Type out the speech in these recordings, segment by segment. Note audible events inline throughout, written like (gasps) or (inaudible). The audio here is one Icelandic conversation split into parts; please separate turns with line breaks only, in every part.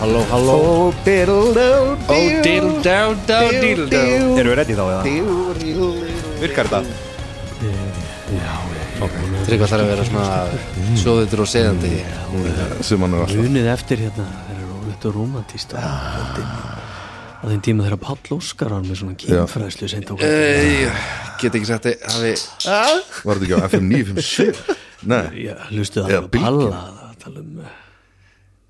Halló, halló
Oh, diddle-do, diddle,
Dildildá, dildildá
diddle,
Eru við ready þá eða?
diddle, diddle.
Virkar þetta?
Tryggva þarf að vera svona sjóðutur og seðandi
Suman er alltaf
Munið eftir hérna þeir eru þetta romantist á þeim tíma þeirra Pall Óskar var með svona kynfræðslu seint á kvöldin.
Eh, Ég get ekki sagt að hafi
Var þetta ekki á FM 957? Nei
Ég hlusti það
Eða
alveg á
Bylgju.
Palla að tala um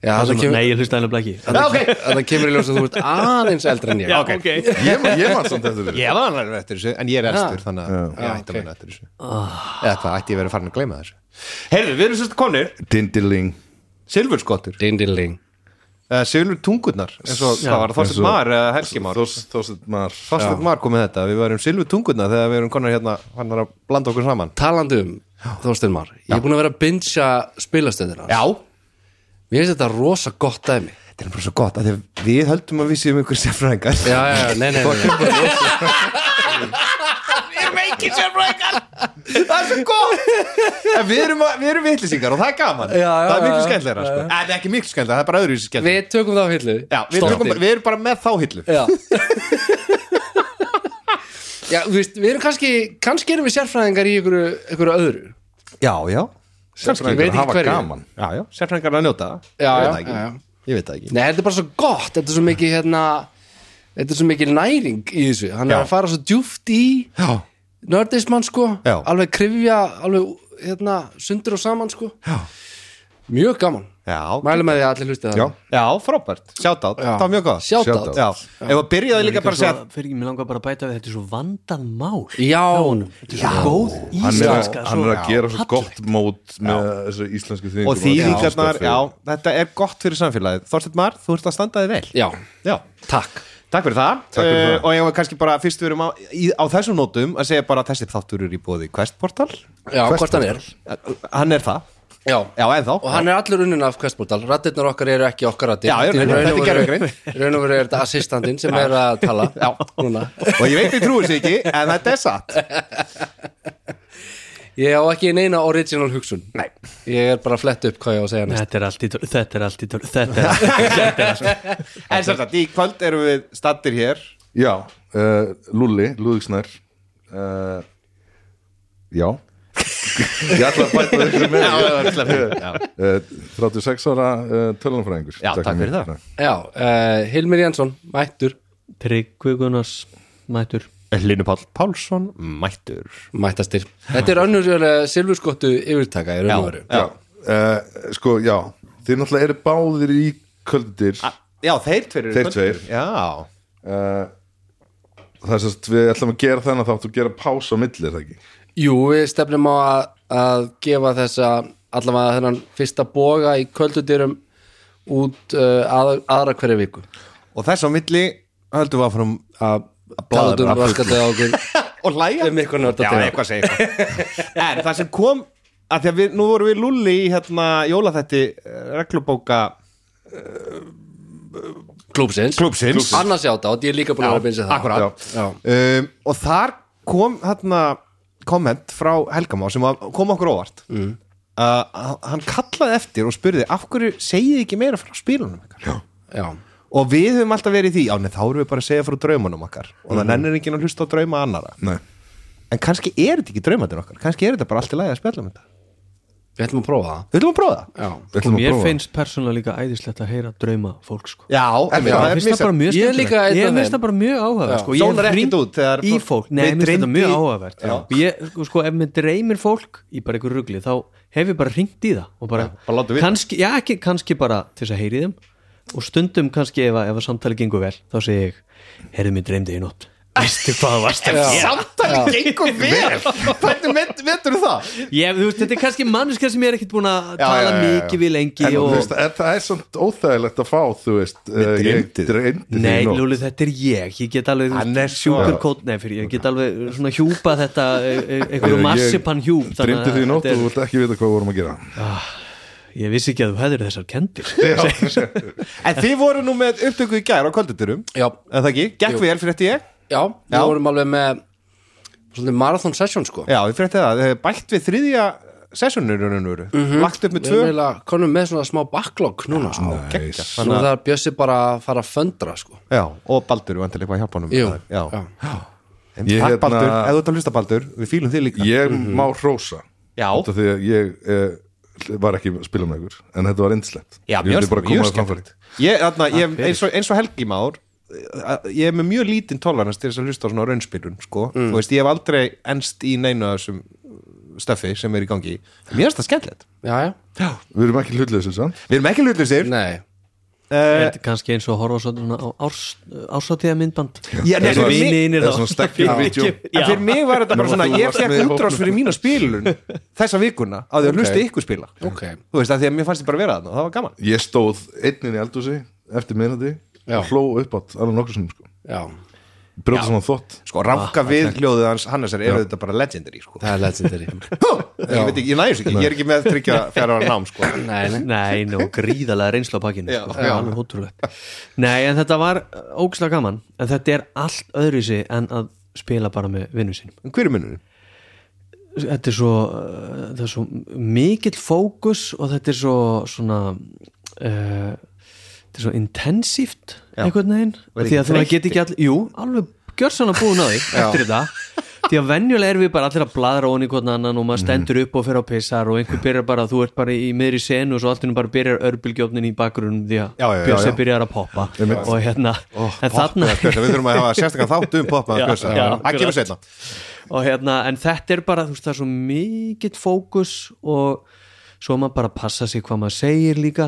Já, það
Palla-
kemur
Nei, ég hlusti það alveg ekki
Það okay. kemur í ljós að þú ert aðeins eldri en ég
ok
Ég, ég man samt eftir þessu
Ég var alveg eftir þessu, en ég er elstur þannig að ég
Já,
ætti að
ok.
vera eftir þessu
Ah.
Eða hvað, ætti ég verið farin að gleyma þessu Heyrðu, við erum sérst konir,
Dindiling
silfurskottur
Dindiling
uh, Silfurtungurnar, eins og hvað var það,
Eins
Þorsteinn
og-
Mar eða Helgi Mar
Þorstund Mar
Þorsteinn Mar komið þetta, við varum silfurtungurnar þegar við erum konar hérna, hann er að blanda okkur saman
Talandi um Þorstein Már Ég er búin að vera að bingja spilastöndina
Já,
Mér finnst þetta rosa gott dæmi
þetta er bara svo gott, að við höldum að við séum ykkur sérfræðingar
Já, já, já, nei, nei, nei, nei.
það er svo gott En (laughs) við erum, að- við erum vitlýsingar og það er gaman
Já, já,
Það er miklu
já,
skemmtilegra, sko En það er ekki miklu skemmtilegra, það er bara öðru skemmtilegra
Við tökum það á hillu
Já, við, tökum, bara- við erum bara með þá hillu
Já Já, þú veist, við erum kannski kannski erum við sérfræðingar í ykkur, ykkur öðru
Já, já
Kannski, ég veit ekki
hafa
hverju
gaman
Já, já, sérfræðingar að njóta það.
Já,
Ég veit
já,
það ekki.
já, já.
Ég veit það ekki
Nei, þetta er bara svo gott, þetta er svo mikið hérna, þetta er svo mikið næring í þessu hann er
Já.
að fara svo djúft í
Já,
nördismann sko
Já.
alveg krifja, alveg hérna, sundur og saman sko já. Mjög gaman,
já,
mælum með því að allir hlusti það
Já.
já frábært Sjátátt,
Já.
það var mjög gott
Shout
Shout
out.
Já, ef að byrjaði líka bara að segja
Fyrir ekki, mér langar bara að bæta við þetta er svo vandað mál
Já,
Þetta er svo góð
Hann er, að,
íslenska
hann er
svo-
að gera svo
Fallegt.
gott mót með þessu íslensku þýðingum
Og þýðingarnar, já, þetta er gott fyrir samfélagið Þorsteinn Mar, þú ert að standa þig vel
já,
Já,
takk
takk fyrir það,
Takk fyrir það.
Eh, Og ég var kannski bara, fyrst við erum á, í, á þessum nótum að segja bara að þessi þáttur eru í bóði Questportal Eh,
Já, hvort hann er
Hann er það,
Já,
já, ennþá
og hann er allur unnin af Questportal rattirnar okkar eru ekki okkar rattir
Já, já,
Þetta er í
þetta er
raun og veru-
gervigreind.
í raun og veru er þetta assistantinn sem er að tala já. núna
Og ég veit ég trúið sér ekki, en þetta er satt
ég á ekki neina original hugsun Nei. ég er bara að fletta upp hvað ég á að segja næst
Þetta er allt í tör, þetta er allt í tör Þetta er allt í tör
En sem sagt, í kvöld erum við stattir hér
Já, uh, Lulli, Lúðiksnær uh, Já (laughs) Ég ætla að bæta þessu með uh, 36 ára uh, tölunfræðingur
Já, takk fyrir það.
já, uh, Hilmir Jansson, mættur
Tryggvi Gunnars mætur
Linu Pál Pálsson, mættur
mættastir, þetta er önnur uh, silfurskottu yfirtaka í raun og veru
Já, uh, sko, já Þið náttúrulega eru báðir í kvöldir
Já, þeir tveir eru
Þeir
kvöldir.
tveir.
Já,
uh, Það er sérst, við ætlum að gera þennan þátt og gera pása á milli, er það ekki?
jú, við stefnum á að, að gefa þessa allavega þennan fyrsta boga í kvöldudyrum út uh, að, aðra hverja viku
og þess á milli höldum við áfram að að
talaðu
blaðra
um raskatið á okkur
og hlæja
um eitthvað
(laughs) Já,
nörda
eitthvað segir það. (laughs) En það sem kom að því að við, nú vorum við lulli í hérna jólaþætti eh, reglubóka
klúpsins
klúpsins
annars játt átt, ég er líka búin að vera að byrja það
Akkurat
Já.
um, Og þar kom hérna komment frá Helgamá sem var- kom okkur óvart mm. Hann kallaði eftir og spurði af hverju segið þið ekki meira frá spílunum ykkar Já
já,
og við höfum alltaf verið í því, já, nei, þá erum við bara að segja frá draumanum okkar og það nennir enginn að hlusta á drauma annara
Nei
en kannski er þetta ekki draumandir okkar kannski er þetta bara allt í lagi að spjalla um þetta
við ætlum að prófa það
við ætlum að prófa það
já.
Við
Og
ætlum að
mér
prófa.
finnst persónulega líka æðislegt að heyra drauma fólk sko
já, en
já,
það
Mér
er missa
finnst það bara mjög
Ég er líka einn
skemmtilegt Ég
af
finnst
þeim.
það bara mjög áhugavert sko.
Sónar
Ég hef
ekkert
hringt
út þegar
Í
fólk-
fólk, nei,
mig
mér finnst þetta
dreymdi-
mjög áhugavert
Já.
Og ég, sko, ef mér dreymir fólk í bara ykkur rugli þá hef ég bara hringt í það og bara,
bara látum vita.
kannski, já, ekki, kannski bara til þess að heyri þeim og stundum kannski ef, að- ef að samtali gengur vel þá segi ég, heyrðu mér dreymdi í nótt Æstu hvað varst að gera
Samtali gengur vel (laughs) Hvernig met- metur þú það?
ég, þú veist, Þetta er kannski manneska sem ég er ekkit búin að
já,
tala
já, já.
mikið við lengi
En þú
og...
veist, er, það er samt óþægilegt að fá, þú veist, uh, ég
dreymdi þig.
dreymdi þig
Nei,
í nótt.
Lúli, þetta er ég Ég get alveg
Hann er
sjúkur
svo-
kótt Nei, fyrir, ég get alveg svona hjúpa þetta e- e- einhverju
Ég-
marsipan hjúp þannig
Dreymdi
að
þig í nótt
þetta
og þú vilt ekki vita hvað við vorum að gera
er- Ég vissi ekki að þú hefðir þessar kendir
En þið voru nú með upptöku í gær á kvölduturum
já,
En það ekki, gekk vel fyrir þetta ég
já, við
Já.
vorum alveg með svolítið marathon session sko
Já, þið fyrir það, þið hefur bætt við þriðja sessunurununuru
Mhm.
Lagt upp með
við
tvö
erum eiginlega konum með svona smá backlog núna sko.
Gekka,
Nú
þannig að
það er Bjössi bara að fara að föndra sko.
Já, og Baldur, við endilega að hjálpa honum
Jú,
já.
já.
En
Ég,
Takk
hérna-
Baldur, eða þú ert að hlusta Baldur Við fýlum þig líka
Ég má hrósa
Já.
Þetta því að ég eh, var ekki að spila með ykkur En þetta var indislegt
Já,
Ég vildi
mjög-
bara koma
mjög
að framfæri
ég, þarna, ég, eins, og, eins og Helgi Már eh, ég er með mjög lítinn tolerans til þess að hlusta á svona raunspilun sko.
Mm.
þú veist, ég hef aldrei enst í neinu af þessum stöffi sem er í gangi mér finnst það skemmtilegt
já, já,
Við erum ekki hlutleysið, sant?
við erum ekki Eh, hlutlisir
nei
Þetta er kannski eins og að horfa svona á árs, ársáttíða myndband
Já, nei, fyrir mig-
vinir
það er svona stekkur vídeo.
en fyrir mig var þetta bara
Nú,
svona
þú
ég
varst með í
fekk
hópnum.
útrás fyrir mína spilun þessa vikuna að þau hlusti ykkur spila
Ok.
þú veist, að því að mér fannst ég bara vera þarna og það var gaman
Ég stóð einnin í eldhúsi eftir minnandi
Já.
Hló upp átt alveg nokkur sem sko.
já,
Brjóta svona þótt
sko, ranka við hljóðið hans Hannesar eru þetta bara legendary sko.
það er legendary
(laughs) ég veit ekki, ég næðis ekki, ég er ekki með tryggja fjara ára nám sko.
nei, nei.
Nei, nú, gríðalega reynsla á pakkinu
Já,
sko,
já.
alveg hótrúlegt Nei, en þetta var ógislega gaman en þetta er allt öðruvísi en að spila bara með vinnu sínum
En hver er munurinn?
Þetta er svo, uh, þetta er svo mikill fókus og þetta er svo svona uh, þetta er svo intensíft einhvern veginn
Og er
því
ekki
að þú
þreytti?
get ekki allir, jú, alveg gjörsann að
(laughs)
búin á því eftir þetta því að venjulega erum við bara allir að bladra ofan í hvernig annan og
Mhm.
maður stendur upp og fer á pissar og einhver byrjar bara, þú ert bara í miðri senu og svo allt innum bara byrjar örbylgjófnin í bakgrunum því
Já, já,
að
já,
Björse
já.
byrjar að poppa og hérna, en þarna
Björsa, við þurfum að hafa sérstaklega þátt um
Já,
popmaður Björsa
já,
það kemur
akkurat.
setna
og hérna, en þetta er bara þú veist það er svo mikill fókus og svo er maður bara að passa sig hvað maður segir líka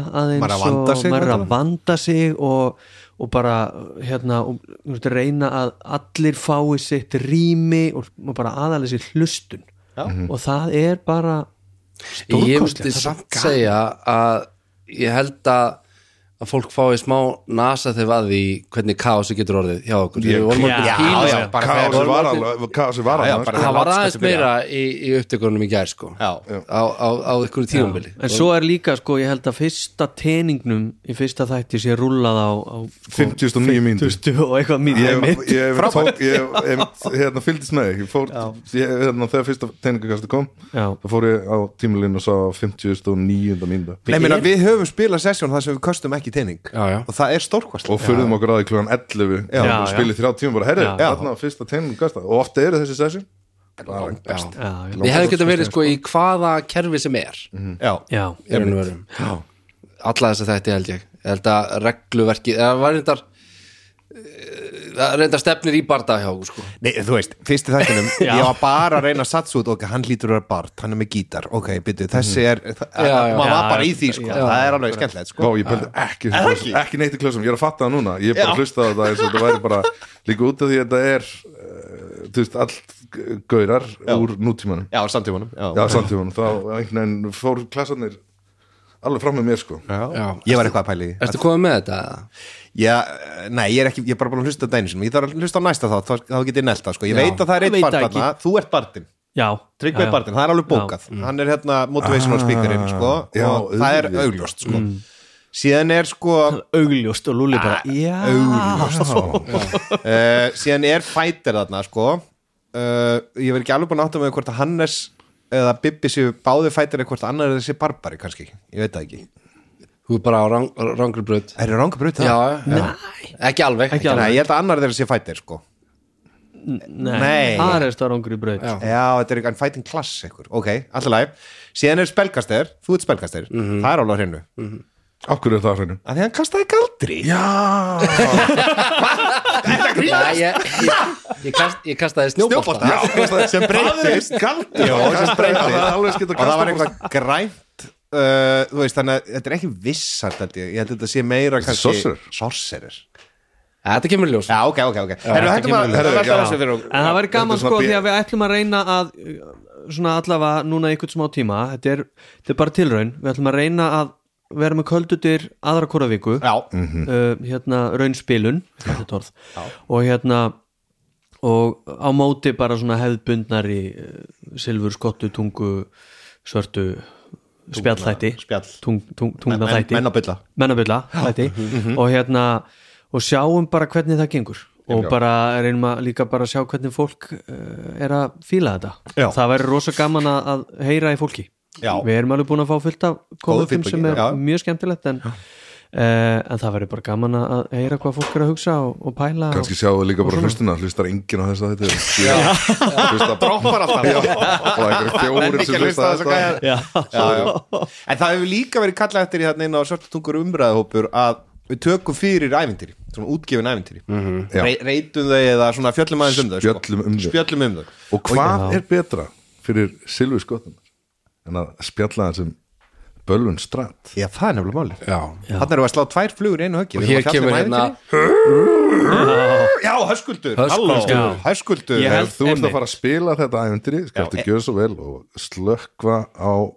Maður
aðeins
er að vanda
og
sig,
maður er að
náttúrulega.
vanda sig og, og bara hérna, og, þú veist, reyna að allir fái sitt rými og, og bara aðalega sér hlustun Já. og það er bara
ég
stórkostlegt.
myndi samt segja að ég held að að fólk fái smá nasa þegar að því hvernig kaosi getur orðið hjá okkur
Ég-
Við vorum
Já,
orðin
já,
pínu-
já,
bara
Kaosi
þegar-
var alveg Kaosi var
Já, já,
alveg
bara-
sko.
það var aðeins
Landsbyrgi
meira í, í upptökunum í gær sko
Já.
á, á, á ykkur tíumbili
en svo er líka sko, ég held að fyrsta teningnum í fyrsta þætti sé rúllað á, á sko,
59 mínútur
50 og eitthvað mínu
Ég, ég, ég, tók, ég einmitt, hérna, fylgdist með ég fór, ég, hérna, þegar fyrsta teiningakastu kom
Já.
þá fór ég á tímulínu og sá 59. mínúta
Nei, meina, við höfum spilað sessjón þar sem við köstum ekki teining
Já, já.
og það er stórkvast
og fyrðum okkur aðið klukkan 11
Já.
og spilið þrjá tíma bara herri,
Já.
þarna var fyrsta teiningakastu og ofta eru þessi sessi
við
já, já,
hefum getað verið sko í hvaða kerfi sem er
Mhm.
Já,
já.
í raun og verum alla þess að þetta held ég Ég held að regluverki það var reyndar eh, það reyndar stefnir í barða hjá okkur sko
Nei, þú veist, fyrst í þættinum
(laughs) Já.
ég var bara að reyna að satsa út ok, hann lítur að vera bart, hann er með gítar ok, byrju, þessi er, það-
Já, já.
maður var
Mhm. Já,
bara í
já.
því sko, það er alveg skemmtilegt
Vá,
sko
ég pældi ekki, þessu
það
klössum.
ekki?
ekki neitt í klössum, ég er að fatta það núna ég er bara að hlusta á þetta eins og þetta væri bara líka út af því að þetta er eh, þú veist, allt g- gaurar úr nútímanum
Já, samtímanum
Já, samtímanum, þá einhvern veginn fór klassarnir alveg fram með mér sko
Já.
Ég var eitthvað að pæla í því.
Ertu komið með þetta? eða?
Já, nei, ég er ekki, ég er bara búin að hlusta á dænir sinum, ég þarf að hlusta á næsta þá, þá, þá get ég nelta, sko, ég veit að það er
Ég
eitt
veit
bart
ekki.
þarna, þú ert bartinn,
Já,
Tryggvei
já, já. Mm. Ah.
bartinn, það er alveg bókað, hann er hérna motivational speakerinn, sko,
já,
og það er
auðvitað.
augljóst, sko,
Mm.
síðan er, sko,
augljóst og Lúli bara já,
uh, síðan er fighter þarna, sko, uh, ég verð ekki alveg búin að átta með hvort að Hannes eða Bibbi séu báði fighter eða hvort annar er þessi barbari, kannski, ég veit það ekki,
Þú er bara á rang, rangur bröð
er það ranga brut
Já,
það?
já. ekki alveg
Ekki alveg.
Nei, ég held að annar þeirra sé fighter, sko. Nei.
nei, það er starangur í braut
Já.
Já, þetta er eitthvað fighting class ekkur Ok, alltaf læg Síðan er spelkaster, þú ert spelkaster
Mhm.
Það er alveg á hreinu mm
Akkur er það hreinu
Því hann kastaði galdri
Já,
Nei, ég, ég, ég, kast, ég kastaði snjóbolta
Snjóbolta sem breytist Galdri Já, sem
kastaði-
breytist
það er alveg skylda að
Og það
kasta
var eitthvað grænt uh, þú veist, þannig að þetta er ekki vissart held ég, ég held að þetta sé meira kannski
sorcerer.
sorcerer
Þetta kemur í ljós
já, ok, ok, ok Herru,
þetta
hættum að
kemur-
herru,
herru,
já.
já.
þessu fyrir
En það væri gaman
Þetta er
sko
svona
því
bí-
að við ætlum að reyna að uh, svona allavega núna í einhvern smá tíma þetta er, þetta er bara tilraun, við ætlum að reyna að vera með köldutir aðra hvora viku
já,
uh, hérna raunspilun þetta orð, og hérna og á móti bara svona hefðbundnari uh, silfur skottu tungu svörtu spjallþætti
spjall.
tung, tung,
menn, menn,
tungnaþætti
menn Mhm. að bylla
mennabulla þætti og hérna og sjáum bara hvernig það gengur og bara reynum að líka bara sjá hvernig fólk uh, er að fíla þetta
Já.
það væri rosa gaman að, að heyra í fólki
Já.
við erum alveg búin að fá fullt af kommentum
feedbacki,
sem er
já.
mjög skemmtilegt en, uh, en það væri bara gaman að að heyra hvað fólk er að hugsa og, og pæla og,
kannski sjáu líka bara hlustuna, hlustar enginn á þess að þetta hlustar
droppar alltaf já,
og einhverju fjórir sem hlusta á þetta
já, já. en það hefur líka verið kallað eftir í þarna inn á svartatungur umræðahópur að við tökum fyrir ævintýri svona útgefin ævintýri mm
Já.
reytum þau eða svona fjöllum aðeins um þau sko.
Spjöllum um þau.
spjöllum um þau
og hvað er betra fyrir Silvi Skottunar en að spjalla það sem Bölvun Strat
já, það er nefnilega máli
já,
þannig erum við að slá tvær flugur í einu höggi
Og
Við
hér
erum að fjalla
kemur
um
hérna
ævintýri. já, höskuldur,
Höskuldur.
halló. höskuldur
Ég held-
ef þú ert
Einmitt. e-
að fara að spila þetta æventýri skaltu gjöra svo vel og slökva á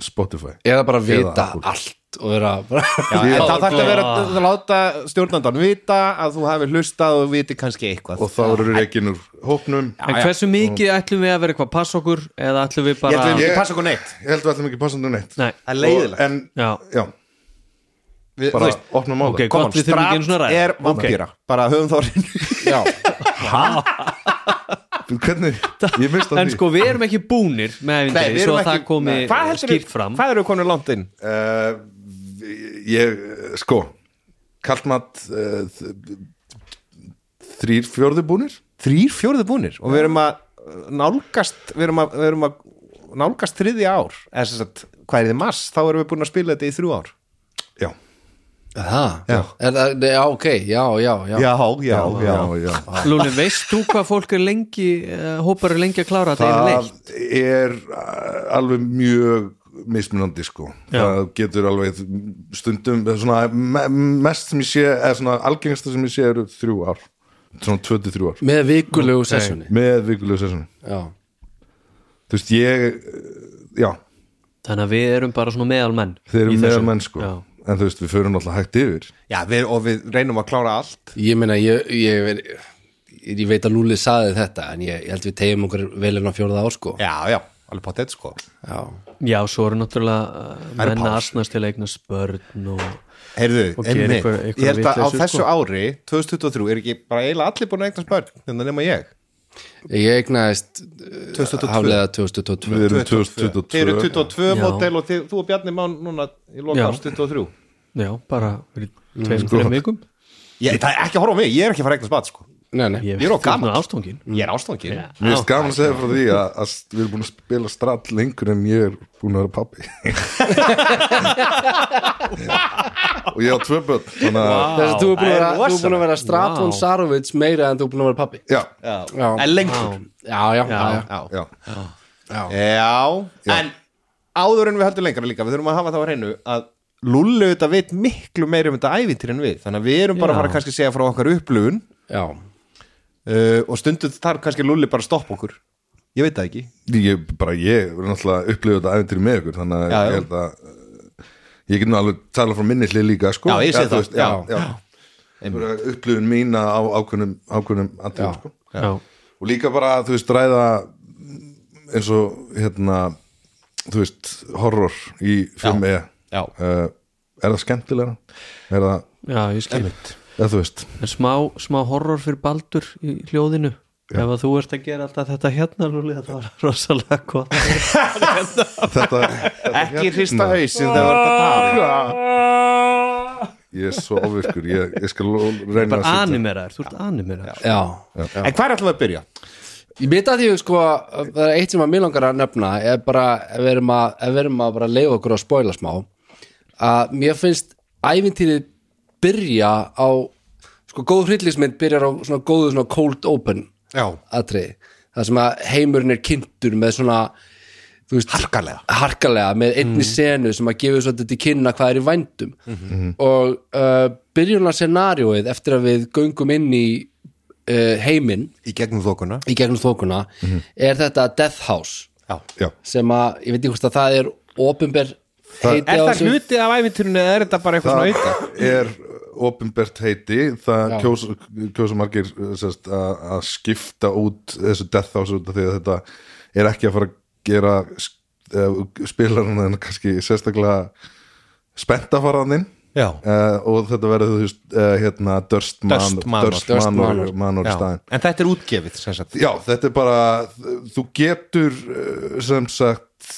Spotify
Eða bara vita
Apple.
allt og vera bara
Já, en það þarf að vera að láta stjórnandan vita að þú hafi hlustað og viti kannski eitthvað
og þá eru reikin úr hópnum
en hversu mikið ætlum við að vera eitthvað pass okkur eða ætlum við
ég
bara
ætlum
Ég-
ekki passa okkur neitt
ég held við allum ekki passandi um neitt
Nei,
það er leiðilegt
en,
Já.
já,
Við- þú
bara
veist,
opnum á
ok,
það
gott við þurfum ekki einu svona
Strat
ræð
er vampýra bara höfum þá (laughs) reynu
hvernig, ég mista
en sko við erum ekki búnir með
Nei, við
evindri
erum
svo að
ekki-
það komi
Nei. Hvað heldurðu-
skýrt fram
Hvað eru konur langt inn?
uh, ég, eh, sko kallmatt uh, þrýr fjórðu búnir
Þrýr fjórðu búnir og við erum að nálgast við erum að, við erum að nálgast þriðja ár eða sem sagt, hvað er þið mass? Þá erum við búin að spila þetta í þrjú ár
já,
Það,
Já.
Er það- já, ok, já, já, já
Já, já, já,
já.
Lúli, veist þú hvað fólk er lengi uh, hópar er lengi að klára þetta yfir
það
leik
er uh, alveg mjög mismunandi sko það getur alveg stundum eða svona, me mest sem ég sé eða svona algengasta sem ég sé eru þrjú ár svona 23 ár
Með vikulegu sessjóni
með vikulegu sessjónu
Já,
þú veist ég, uh, já,
Þannig að við erum bara svona meðal menn
þeir
í
eru
þessu.
meðal menn sko
Já.
en þú veist við förum alltaf hægt yfir
já við, og við reynum að klára allt
ég meina, ég, ég, ver- ég veit að Lúli saði þetta En ég, ég held við tegjum okkur vel en á fjórða ár, sko
Já, já, alveg pottet sko
Já,
Já, svo eru náttúrulega uh,
Það eru
menn að
pásur.
asnast til að eigna spörn og
Heyrðu,
Og gera
einmitt,
eitthvað- eitthvað
ég held að á
vitleysu,
þessu
sko.
ári 2023 er ekki bara eiginlega allir búin að eignast börn en það nema ég
ég eignaðist eh,
2022.
Haflega
við
2022
erum
22. Þið eru
2022
22
Já.
mótel og þið, þú og Bjarni Már núna í
Já.
loka árs 23
já, bara fyrir
Mm,
tveim,
sko.
þreim vikum
ég, Það er ekki að horfa á mig, ég er ekki að fara að eignast bad sko.
Nei, nei,
Ég
Ég er of
veist þú
gamall.
svona ástungin
Ég er ástofangir
Mér finnst gaman að segja frá því að, að við erum búin að spila strall lengur en ég er búin að vera
(laughs)
pappi og ég á tvö börn þannig að
Þess að þú er búin að vera,
Það er
þú er búin að vera Stratvon
Vá.
Sarovic meira en þú er búin að vera pappi
já,
Já,
En lengur
já, já, já, já.
Já,
já,
Já, en áður en við höldum lengra líka við þurfum að hafa það á hreinu að Lullu þetta veit miklu meira um þetta ævintir en við þannig að við erum bara
Já.
að fara kannski að segja frá okkar upplöfun
já.
uh, og stundum þarf kannski Lulli bara að stoppa okkur ég veit það ekki
ég bara ég er náttúrulega upplifið þetta æventir með ykkur þannig að
Já, já.
ég held að eh, ég get nú alveg tala frá minni hlið líka sko.
Já, ég sé
þú
það.
veist, já,
Já. (gasps)
já. Bara upplifun mín á ákveðnum, ákveðnum atriðum, sko.
Já,
og líka bara þú veist ræða eins og hérna þú veist horror í 5E
Já.
Eh, er það skemmtilega er það,
já, ég skil
eða þú veist
En smá, smá horror fyrir Baldur í hljóðinu Ef að þú ert að gera alltaf þetta hérna Lúli, þetta var rosalega gott
þetta, hérna. þetta
ekki hrista hausin þegar þetta tala
ég er svo ofvirkur, ég, ég skal lo- reyna
Bara
að
animeraður, þú ert animeraður
já.
en hvað er alltaf að byrja?
Ég veit að því sko að það er eitt sem að mér langar að nefna er bara, ef við erum að, ef við erum að bara leifa okkur að spoila smá að mér finnst ævintýrið byrja á sko góð hryllismynd byrjar á svona góðu svona cold open
Já,
atriði það sem að heimurinn er kynntur með svona þú veist,
Harkalega.
harkalega með einni senu sem að gefa svolítið til kynna hvað er í vændum og uh, byrjunar scenarióið eftir að við göngum inn í uh, heiminn
í gegnum þokuna
í gegnum þókuna er þetta Death House
já,
sem að, ég veit ekki hvort að það er opinber heiti
Er
á
það
þessu.
hluti af æfinturinu eða er þetta bara eitthvað svona auka?
það er ofinbert heiti, það
Já.
kjósa, kjósa margir eh, sest, að, að skipta út þessu death house út af því að þetta er ekki að fara að gera eh, spilarinn en kannski sérstaklega spentafaraðin
Já.
uh, og þetta verður þú veist uh, hérna Dörst
Dust Manor.
Dust
Manor
Manor.
Manor
Já.
staðin
En þetta er útgefið sem sagt
Já, þetta er bara þú getur eh, sem sagt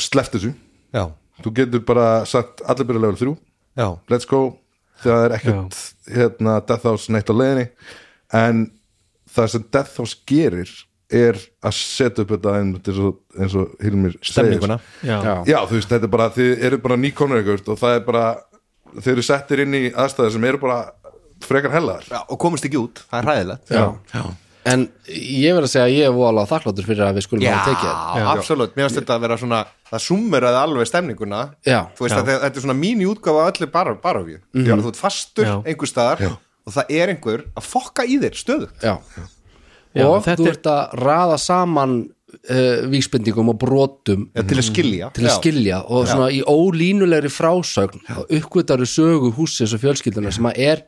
sleppt þessu
Já,
þú getur bara sagt allir byrja level 3
já,
let's go, það er ekkert hérna Death House neitt á leiðinni en það sem Death House gerir er að setja upp þetta einmitt eins og, eins og Hilmir segir.
stemninguna
já,
Já, þú veist, þetta er bara, þið eru bara nýkonur ykkur og það er bara, þið eru settir inn í aðstæði sem eru bara frekar hellaðar
já, og komist ekki út, það er hræðilegt Já, já,
en ég verð að segja að ég er voðalega þakkláttur fyrir að við skulum
já
hafa tekið þetta.
absolutt, mér finnst þetta að vera svona það summeraði alveg stemninguna
Já.
Þú veist að þetta er svona mín í útgáfa öllu bara, bara við Þú ert fastur
Já.
einhver staðar og það er einhver að fokka í þér stöðu
Já.
Já,
og
þetta
þú
er-
ert að raða saman uh, vísbendingum og brotum
Já, til að skilja
til að skilja og svona í ólínulegri frásögn og uppgötaru sögu húsins og fjölskylduna sem að er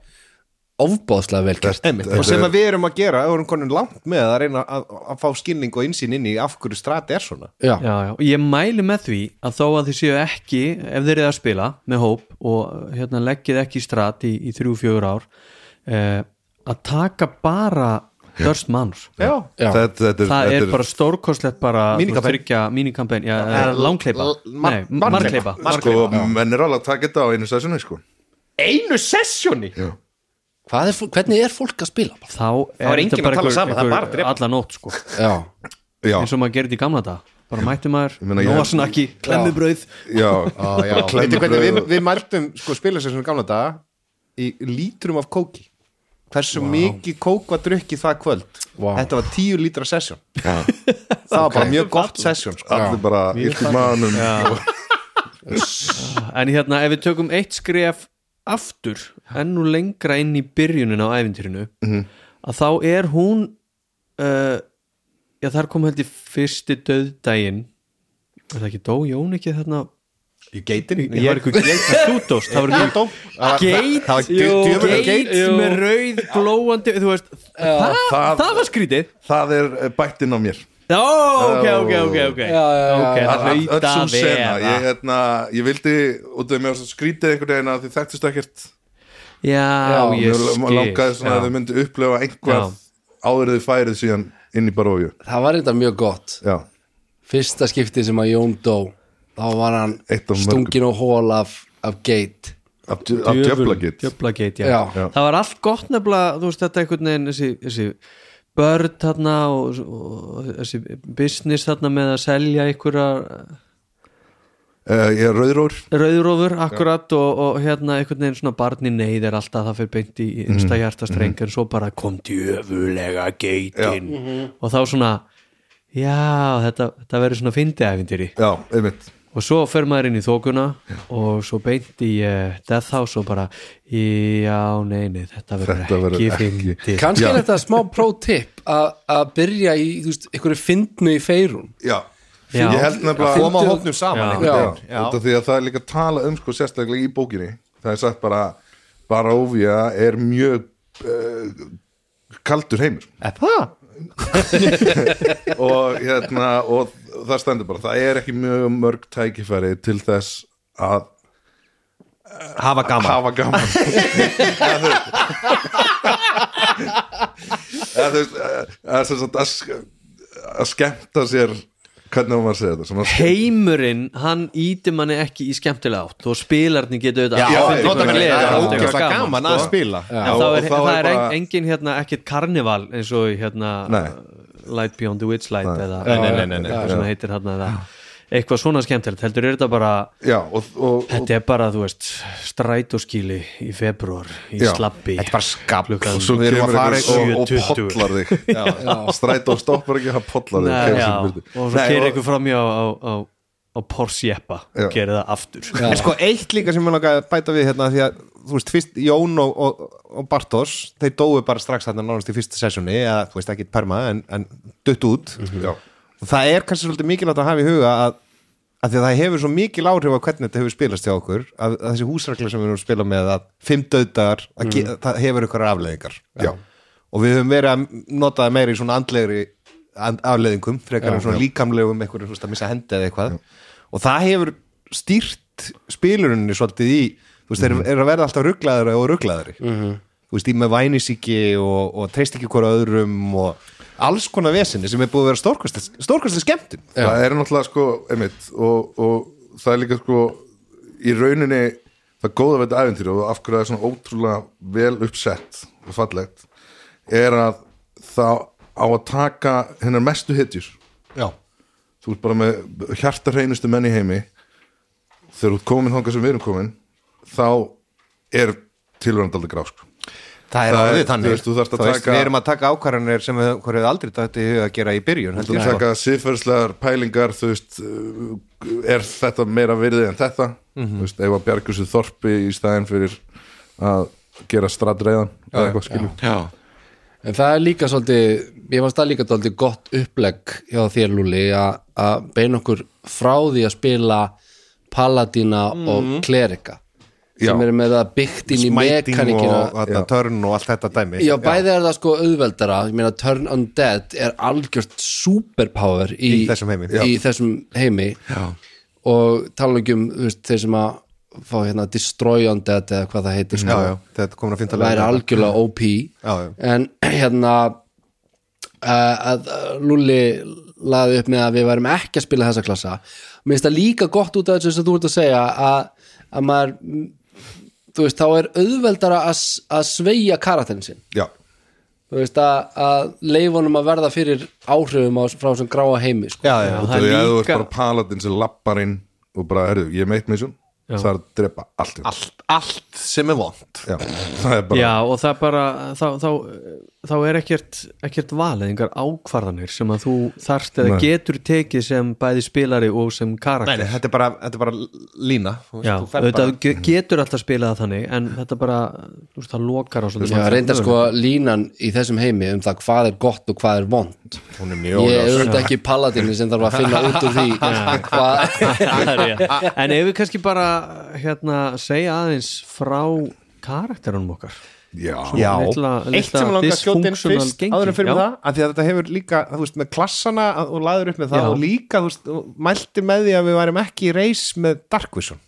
ofbáðslega vel gert
Einmitt. og sem að við erum að gera, við erum konin langt með að reyna að, að fá skilning og innsýn inn í af hverju strati er svona
já,
já, já. Og Ég mæli með því að þó að þið séu ekki ef þeir eru að spila með hóp og hérna, leggið ekki í strat í, í þrjú, fjögur ár eh, að taka bara Dörst Manor
já,
Já.
þetta, þetta,
það er
þetta
bara stórkostlegt bara
Minikampen.
mínikampain,
Eh,
langkleipa
l- mar-
Nei,
markleipa.
markleipa
sko, menn er alveg að taka þetta á einu sessjónu sko.
einu sessjóni já.
Hvað er, fó- hvernig er fólk að spila bara?
þá er,
er enginn
þetta
að tala
einhver-
saman, það er bara að
einhver
drepa.
alla nótt sko,
já,
já,
eins og maður gerði í gamla dag bara mætti maður,
meina, ég-
nóasnakki klemmubrauð,
já,
já,
bara
Veitir
klemmu
hvernig við,
bröðu
við mæltum sko spilasessjónu gamla daga í lítrum af kóki hversu mikið kók var drukkið það kvöld
Vá.
þetta var tíu lítra sessjón (laughs) það var bara mjög gott sessjón sko.
allir bara um- illt í manum
en hérna ef við tökum eitt skref aftur ennú lengra inn í byrjunin á æfintýrinu að þá er hún uh, já þar kom held í fyrsti döðdægin er það ekki dó Jón ekki þarna
í geitin
Ég var ykkur geit þú dóst Það var ykkur geit
það var djö-
jú,
djöfull
geit
geit.
með rauð glóandi Þú veist, það,
það-
það var skrítið
það er eh, bættinn á mér
Ó, ok, ok, ok, ok
Já, já, já,
Ok,
já.
það hlaut
öllsum
að
sena,
vera
ég, hérna, ég vildi út af mér skrítið einhvern veginn að þið þekktist ekkert
Já,
Já,
ég
mér
skil
langaði svona
já.
að þið myndi upplifa einhvað
Já.
áður en þið færið síðan inn í baróju
það var þetta mjög gott
já,
fyrsta skipti sem að Jón dó þá var hann
Eitt af mörgum.
stungin og hól af, af geit
af djö- af djöflagitt
Djöflageit, já.
Já.
Já.
Það var allt gott nefnilega, þú veist, þetta einhvern veginn þessi, þessi börn þarna og, og þessi business þarna með að selja einhverja
uh, ég er rauðrór
rauðrófur akkurat og, og hérna einhvern veginn svona barni neyð er alltaf það fyrir beint í innsta hjartastreng en svo bara kom djöfulega geitin og þá svona já, þetta, þetta verður svona fyndi æfintýri
já, einmitt
og svo fer maður inn í þókuna og svo beint í uh, Death House og bara, já, nei, nei þetta
Þetta
verður
verður
ekki
ekki-
fyndi
kannski
Já.
er þetta smá pro-tip að að byrja í, þú veist, einhverju fyndnu í feirun
já.
Já.
ég held nefnilega
koma hópnum
Já.
saman
já,
einhvern veginn.
út af því að það er líka tala um sko sérstaklega í bókinni það er sagt bara barója er mjög uh, kaldur heimur
Er það?
(laughs) og, hérna, og það stendur bara það er ekki mjög mörg tækifæri til þess að
hafa gaman
hafa gaman eða þú veist eh, eða þú veist að, að, að, að skemmta sér hvernig á maður að segja þetta sem að-
heimurinn, hann ítir manni ekki í skemmtilega átt og spilarni getur auðvitað
Já,
haft
já,
einhverja
nota
gleði,
gleði,
haft
það er
einhverja
ógeðslega gaman að
sko.
spila. Já.
en þá
og
er,
þá
það
er
er
bara-
en- engin hérna ekkit karnival eins og í, hérna
Nei.
Light Beyond the Witch Light eða
Nei, nei, nei, nei, nei.
hvað sem það heitir hérna eða eitthvað svona skemmtilegt heldur er þetta bara
já, og, og, og,
þetta er bara, þú veist, strætóskíli í februar, í
Já.
slappi
Þetta er bara skap
Klukkan-
svo
Við erum að
kemur
fara
einhver og, og
7.20.
pollar
(laughs)
þig strætó stoppar ekki, það pollar þig
Nei,
kemur
já,
sér
og
burtu.
svo
Nei,
kerir einhver fram hjá á, á, á Porsche Jeppa
Já.
og gerir það aftur
En sko eitt líka sem ég langaði að bæta við hérna því að þú veist, fyrst Jón og, og, og Bartos þeir dóu bara strax þarna nánast í fyrsta sessjóni eða þú veist ekki perma en, en dutt út
Já.
og það er kannski svolítið mikilvægt að hafa í huga að, að því að það hefur svo mikil áhrif á hvernig þetta hefur spilast hjá okkur að, að þessi húsrakla sem við erum að spila með að fimm döðdagar, mm. það hefur ykkur afleðingar
Já.
og við höfum verið að nota það meira í svona andlegri and, afleðingum, frekar en svona líkamlegum eitthvað, þú veist, að missa hendi eða eitthvað og það hefur stýrt spilurinni svolítið í þú veist, þeir
Mhm.
eru að verða alltaf rugglaðari og rugglaðari þú veist, í með vænisíki og, og treyst ekki hvora öðrum og alls konar vesinni sem er búið að vera stórkostlega stórkostlega skemmtun
það er náttúrulega sko einmitt, og, og það er líka sko í rauninni það góða við þetta æfintýri og af hverju það er svona ótrúlega vel uppsett og fallegt er að það á að taka hennar mestu hitjur
Já,
þú ert bara með hjartarheinustu menn í heimi þegar þú ert komin þangað sem við erum komin þá er tilvörandi aldrei grá sko.
það er
Það er-
alveg
þú
þannig
veist, þú þarft að
Þú veist,
taka-
Við erum að taka ákvarðanir sem við hvað hefur aldrei þetta í huga að gera í byrjun held
þú
ég,
ert
sko.
taka siðferðslegar pælingar þú veist er þetta meira virði en þetta
Mhm.
þú veist, ef að bjargur sér þorpi í stæðin fyrir að gera stradreiðan eða eitthvað skilur
Já,
En það er líka svolítið, ég fannst það líka svolítið gott upplegg hjá þér Lúli að að beina okkur frá því að spila Paladina og Klerika sem
Já.
eru með það byggt inn í
Smæting Mhm. og
mekanikina
þarna törn og allt þetta dæmi
Já, bæði er það sko auðveldara ég meina Turn Undead er algjört superpower í,
Í þessum heimi.
í þessum heimi og tala ekki um þú veist, þeir sem að fá hérna Destroy Undead eða hvað það heitir sko
já, já, þetta komur að finna
það væri algjörlega OP
Já, já.
en (clears throat) hérna uh, að uh, Lúli laði upp með að við værum ekki að spila þessa klassa Mér finnst það líka gott út af þessu sem þú ert að segja að, að maður mm, þú veist, þá er auðveldara að, s- að sveigja karakterin sinn
já,
þú veist, að, að leifunum að verða fyrir áhrifum á, frá sem gráa heimi sko.
já, já,
það
þú veist,
er
ef þú ert
líka
bara paladin sem lappar inn og bara, herru, ég er meitt með þessum það er að drepa allt, í-
allt, allt sem er vond
Já, það er bara
Já, og það bara, þá, þá, þá er ekkert, ekkert valið, einhver ákvarðanir sem að þú þarft eða
Nei.
getur tekið sem bæði spilari og sem
Nei,
karakter
nei, þetta er bara, þetta er bara lína þú veist,
Já,
þú ferð
auðvitað ge- getur alltaf spilað það þannig en þetta bara, þú veist, það lokar á svolítið
Já, reyndar
(laughs)
sko línan í þessum heimi um það hvað er gott og hvað er vond
Hún er
Ég
mjög
er
óljós.
auðvitað ekki paladinu sem þarf að finna út úr því hvað,
(laughs) En ef við kannski bara hérna, segja aðeins frá karakterunum okkar
já,
Já,
litla-
eitt
litla
sem langar að skjóta inn
dysfunctional
fyrst
gengi,
áður en fyrir
já.
með það, af því að þetta hefur líka þú veist, með klassana að- og laður upp með það
Já.
og líka, þú veist, og mælti með því að við værum ekki í reis með Darkvision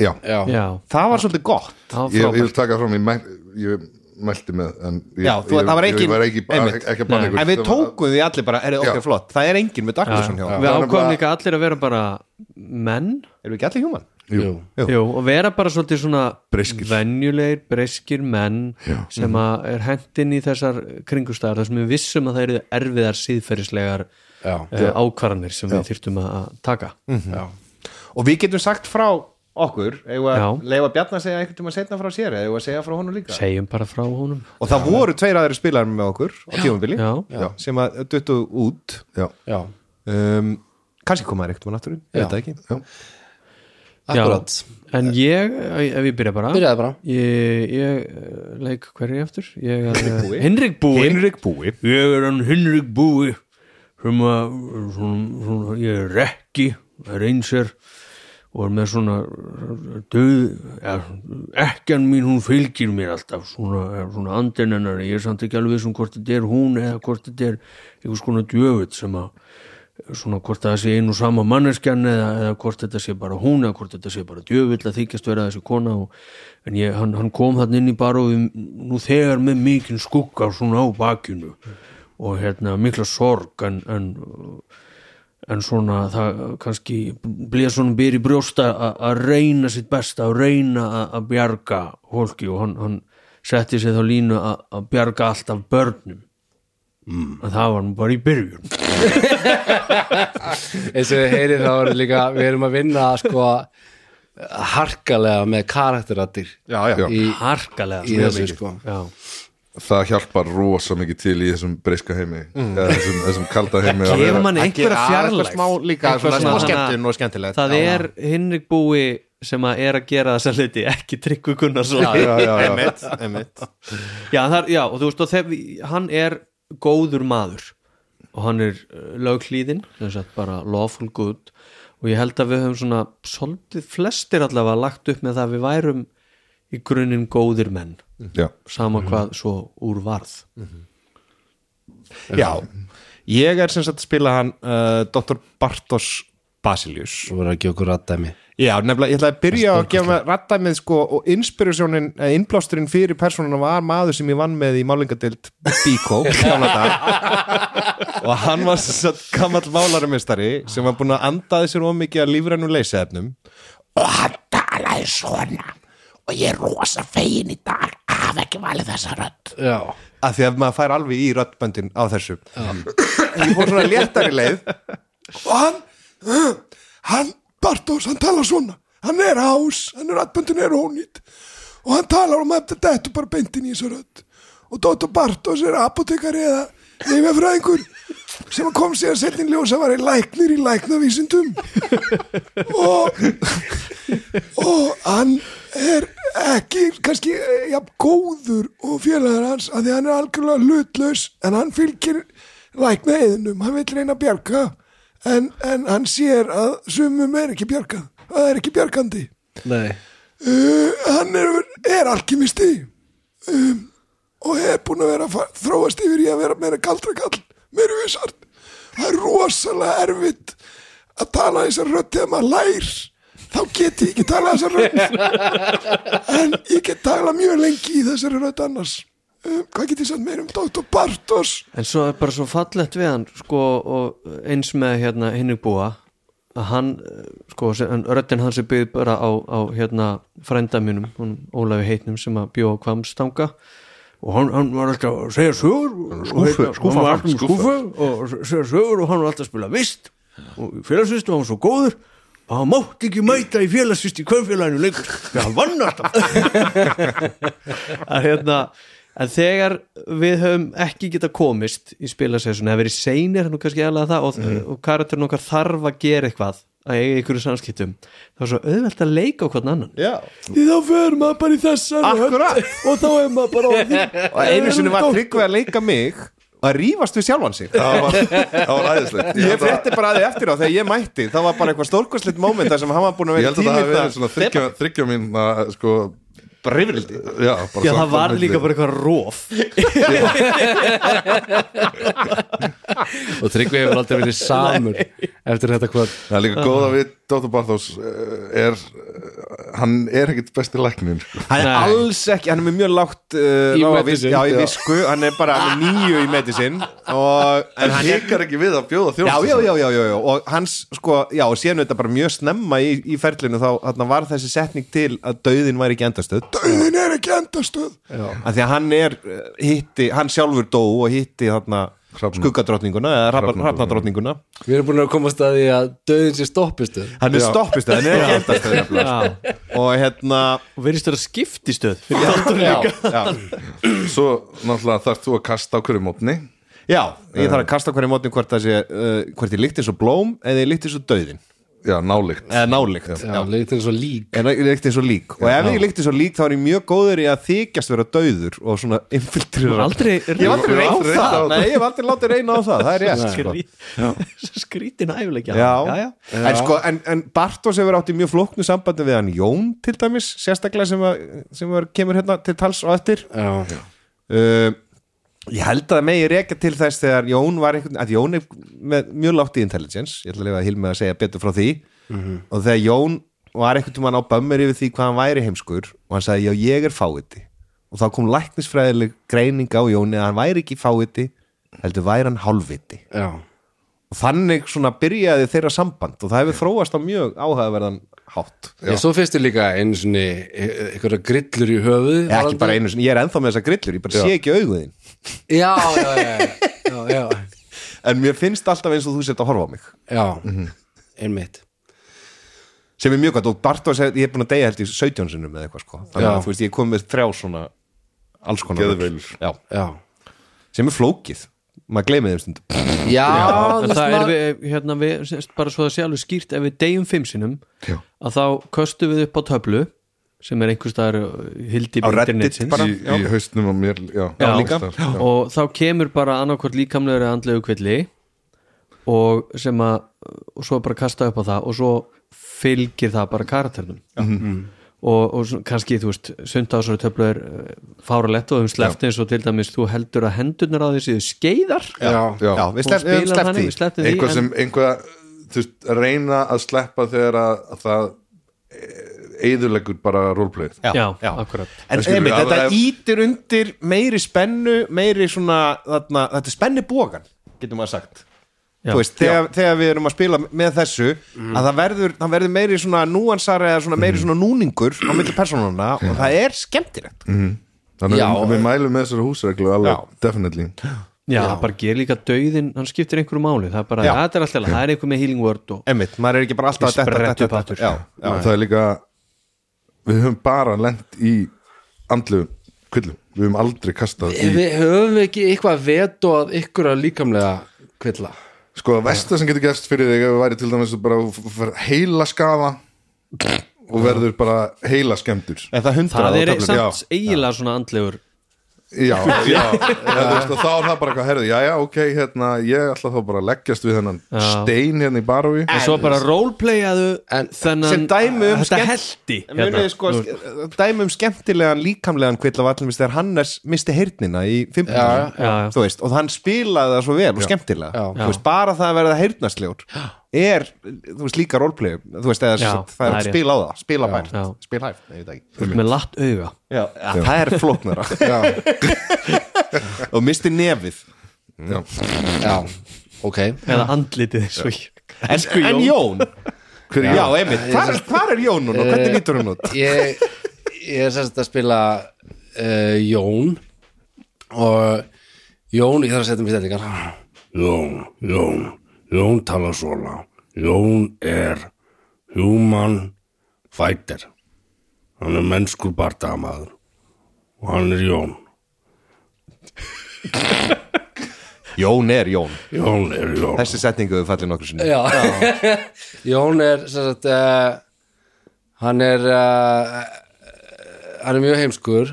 já.
já.
Já,
það var svolítið gott
það var
Ég, ég
frábært
vil taka fram, ég, mæl, ég mælti með en ég,
Já, þú-
ég,
það var
ég,
engin-
var ekki,
einmitt.
ekki, ekki að banna ykkur
en við
Það var-
tókum því allir bara, er það
Já.
okkar flott það er enginn með Darkvision hjá
Við
okkur.
Það er
ákvæðum
bara-
líka allir að vera bara menn
erum við ekki allir human?
Jú.
Jú.
Jú, og vera bara svolítið svona
Breyskir.
venjulegir, breyskir menn
Mhm.
sem að er hendinn í þessar kringustæðar þar sem við vissum að það eru erfiðar síðferðislegar
Já.
uh, ákvarðanir sem við þyrftum að að taka
og við getum sagt frá okkur
Já.
eða leifa Bjarni að segja einhvern tíma setna frá sér eða eigum við að segja frá honum líka
Segjum bara frá honum
og það voru tveir aðri spilar með okkur á tímabili
Já,
sem að duttu út
Já,
Já.
um, kannski komaði reyktum að náttúrin,
Já.
um veit það ekki
já,
Akkurat,
En ég, ef ég byrja bara
byrjaði bara
Ég, ég eh, leik hverju aftur? Ég er eh,
Búi.
Hinrik Búi
Henrik Búi
Ég er hann Hinrik Búi sem að svona, svona, ég er rekki reynsir og er með svona döð ja, ekkjan mín hún fylgir mér alltaf svona, ja, svona andennennar ég er samt ekki alveg sem hvort þetta er hún eða hvort þetta er einhvers konar djöfitt sem að svona hvort það sé einu sama manneskjan eða, eða hvort þetta sé bara hún eða hvort þetta sé bara djöfull að þykjast vera þessi kona og, en ég, hann, hann kom þannig inn í bar og við, nú þegar með mikinn skugga svona á bakinu og hérna mikla sorg en, en, en svona það kannski blíða svona byr í brjósta a- að reyna sitt besta að reyna a- að bjarga fólki og hann, hann setti sér þá línu a- að bjarga alltaf börnum en það var nú bara í byrjun
eins og við heyrið þá erum líka við erum að vinna sko harkalega með karakterattir
já, já,
í,
harkalega
í
sko.
þessu sko
Já.
það hjálpar rosa mikið til í þessum breyska heimi eða þessum, þessum kalda heimi að
gefur
vera-
manni einhverja fjarlægt
smá líka,
Einhverja
svona smá
svona-
skemmtun og skemmtilegt
það
Já.
er Hinrik Búi sem að er að gera þessa hluti ekki Tryggvi Gunnarsson já, já, já,
einmitt, einmitt
þar, já, og þú veist og þegar, hann er góður maður og hann er uh, lögklíðin bara lawful good og ég held að við höfum svona svolítið flestir allavega lagt upp með það að við værum í grunninn góðir menn
já,
Mhm.
sama hvað svo úr varð
já, ég er sem sagt að spila hann uh, Dr. Bartos Basilius
svo verður að gefa okkur raddæmi
Já, nefnilega, ég ætlaði að byrja að gefa með raddæmið sko og inspirasjónin, eh, innblásturinn fyrir persónuna var maður sem ég vann með í málingadeild Bíkó í gamla dag. og hann var svo gamall málarumistari sem var búin að andaði sér of mikið að lífrænum leysiðefnum og hann talaði svona og ég er rosa fegin í dag að hafa ekki valið þessa rödd
já,
að því að maður fær alveg í röddböndin á þessu ég fór svona léttari leið og hann hann, Bartos, hann talar svona hann er hás, hann er röddböndin er ónýtt og hann talar um að þetta er bara beintin í þessu rödd og Dóttur Bartos er apotekari eða nefnfræðingur sem kom sér settin ljósa var í læknir í læknavísindum og og hann er ekki kannski eh, jafn góður og félagar hans að því hann er algjörlega hlutlaus en hann fylgir lækna eðinum, hann vil reyna að bjarga en, en hann sér að sumum er ekki bjargað, að það er ekki bjargandi
nei
uh, hann er, er alkimisti um, og er búin að vera að fa- þróast yfir í að vera meira kaldra kall meira vissart það er rosalega erfitt að tala þessar rödd þegar maður lær þá get ég ekki tala þessar rödd en ég get tala mjög lengi í þessari rödd annars um, hvað get ég sagt meira um Dr. Bartos
En svo er bara svo fallegt við hann sko, og eins með hérna Hinrik Búa að hann, eh, sko, sem- en röddinn hans er byggð bara á, á hérna frænda mínum, hún Ólafi Heitnum sem að bjó á Kvamstanga og hann, hann var alltaf að segja sögur og
skúffu-
hérna,
skúffa
hann var
var
alltaf með skúfu og segja sögur og hann var alltaf að spila vist og félagsvist og hann var svo góður að hann mátti ekki mæta í félagsvist í kvöfélaginu lengur því að hann vann alltaf að hérna að þegar við höfum ekki geta komist í spilasessunni, það verið seinir nú kannski eða það og,
Mhm.
og karakterin okkar þarf að gera eitthvað að eiga ykkur samskiptum þá er svo auðvelt að leika á hvern annan
Já,
því þá fer maður bara í þessan
akkurat
og þá er maður bara á því
(laughs) og einu sinni var tryggvið að leika mig að rífast við sjálfan sig
það var, það var æðislegt
Ég frétti bara að því eftir á þegar ég mætti Það var bara eitthvað stórkostlegt móment þar sem hann var búin að vera
ég held að það hafi verið
tími
svona þryggja, þryggja mín sko,
Brifrildi
já, bara
Já,
svona-
það var líka bara eitthvað róf
og Tryggvi hefur aldrei verið samur eftir þetta hvað
það er líka góða við Dóttur Barthós eh, er eh, hann er ekkert besti læknin sko.
Hann er alls ekki, hann er með mjög lágt uh,
Í
lága
medicine,
vis- Já, í
já.
visku, hann er bara hann er nýju í medicine og,
en hann hekar ekki við að bjóða sko.
já, já,
þjóðsins
já, já, já, já, og hans sko, já, og síðan þetta bara mjög snemma í, í ferlinu þá þarna var þessi setning til að dauðin væri ekki endastöð Dauðin er ekki endastöð að Því að hann er, eh, hitti, hann sjálfur dó og hitti þarna
Hrafna.
skuggadrottninguna eða
Hrafnadrottninguna.
hrafnadrottninguna
við erum búin að komast að því að döðin sé stoppistu
hann er stoppistöð, hann er ekki endastöð nefnilega. og hérna
og verðist þér að skiptistöð fyrir
já, já,
svo náttúrulega þarf þú að kasta á hverju mótni
já, ég þarf að kasta hverju mótni hvort það sé uh, hvort ég líkt eins og blóm eða ég líkt eins og döðin
já, nálikt
eða nálikt
já, leikur til svo lík
en ég líkt eins og lík og ef ég líkt eins og lík þá er ég mjög góður í að þykjast vera döður og svona infiltrera
aldrei
ég hef aldrei
Ég hef
reynd
aldrei
á
reynt á
það,
það.
nei ég hef aldrei látið reyna á það það er rétt sko.
(laughs) skrítin æfilegja
Já.
já, já.
En, sko, en, en Bartos hefur átt í mjög flóknu sambandi við hann Jón til dæmis sérstaklega sem, að, sem að kemur hérna til tals og eftir
já,
uh, ég held að megi rekja til þess þegar Jón var einhvern að Jón er með mjög látt í intelligence ég ætla að lifa að hilma að segja betur frá því og þegar Jón var einhvern tímann á bömmir yfir því hvað hann væri heimskur og hann sagði já ég er fáiti og þá kom læknisfræðileg greining á Jóni að hann væri ekki fáiti heldur væri hann hálfviti
já,
og þannig svona byrjaði þeirra samband og það hefur þróast á mjög áhugaverðan hátt
já. svo fyrstu líka einu svona einhverja grillur í höfuð
ekki bara einu sinni, ég er ennþá með þessa grillur, ég bara sé ekki auguðin
já, já, já, já, já,
en mér finnst alltaf eins og þú sett að horfa á mig
já.
Mhm.
einmitt
sem er mjög gott og Bartos, ég er búin að deyja held í 17 sinnum eða eitthvað sko þannig
Já.
að þú veist, ég kom með þrjá svona alls konar
Geðveilur.
Já.
já,
sem er flókið, maður gleymið þeim stund
já, þú veist
en það er
maður-
við, hérna við sem- bara svo það sé alveg skýrt, ef við deyjum fimm sinnum Já. að þá köstum við upp á töflu sem er einhvers staðar uh, hildi
Á Reddit bara.
í, í haustnum á mér já,
Já,
alls
líka.
staðar, já.
og þá kemur bara annarkvort líkamlegur eða andlegu kvilli og sem að og svo bara kasta upp á það og svo fylgir það bara karakternum og, og svona kannski þú veist sundásar töflu er uh, fáralett og um sleft eins og til dæmis þú heldur að hendurnar á því séu skeiðar
já,
Já.
Já, við
Hún spilar þannig, við
sleppti
slepptum því
einhvað
en-
sem einhvað, þú veist, reyna að sleppa þegar að, að það eðurlegur bara roleplayð
Já,
Já,
já.
akkúrat.
En
En skilur,
einmitt,
ef-
þetta
ef-
ítir undir meiri spennu, meiri svona þarna, þetta er spennu bógan, getur maður sagt
Já.
Þú veist, þegar, þegar við erum að spila með þessu að það verður, það verður meiri svona núansar eða svona meiri svona núningur á milli persónuna og það er skemmtilegt
þannig
Já.
að við- við mælum með þessari húsreglu alveg,
Já.
definitely
Já, það bara ger líka dauðin, hann skiptir einhverju máli það er bara,
Já.
"Ja, þetta er alltaf, það er einhver með healing word og
Einmitt, maður er ekki bara alltaf
Ég sprett upp
þetta,
aftur.
já, já.
og það er líka við höfum bara lent í andlu kvillum, við höfum aldrei kastað í,
við höfum við ekki eitthvað vetað ykkur að líkamlega kvilla
sko að versta sem getur gerst fyrir þig ef við væri til dæmis bara að f- f- heila skafa og verður bara heila skemmtur
En það hundra
það er
töflum,
samt eiginlega svona andlegur
já, já, eða, þú veist, og þá er það bara eitthvað herði, já, já, ok, hérna ég ætla þá bara að leggjast við hennan stein hérna í barói
en svo bara roleplayaðu
En-
þennan,
sem dæmi um
þetta
skemmt-
heldi
En munið þið sko, ske- dæmi um skemmtilegan líkamlegan kvill af allir þegar Hannes misti heyrnina í
Já,
já,
15
já.
þú veist, og hann spilaði það svo vel og skemmtilega,
Já.
þú veist, bara það að verða heyrnaslegur er, þú veist, líka roleplay, þú veist, eða
Já,
sem sagt, það er að
það er
spila á það, spila bært
Já.
spila hæft, nei, ég veit ekki
með latt auga
já, það er (laughs) flóknara (laughs) og misti nefið
já,
já, ok
eða andlitið svo ég
en, en Jón,
hver
já,
er ég?
einmitt hvar, hvar er Jón núna, hvernig lítur hann út
ég, ég er sérst að spila uh, Jón og Jón, ég þarf að setja mér stendingar Jón, Jón Jón tala svona Jón er human fighter hann er mennskur bardagamaður og hann er Jón
Jón er Jón,
Jón er Jón
þessi setningu við fallið nokkur sinni
Já. Jón er sérst að uh, hann er uh, hann er mjög heimskur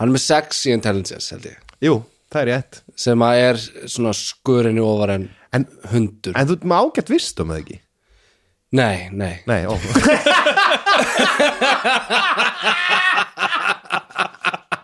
hann er með sexy intelligence held ég
jú, það er rétt
sem að er svona skurinni ofar en,
En-
hundur
En þú ert með ágætt vist um það ekki?
nei, nei,
Nei, ó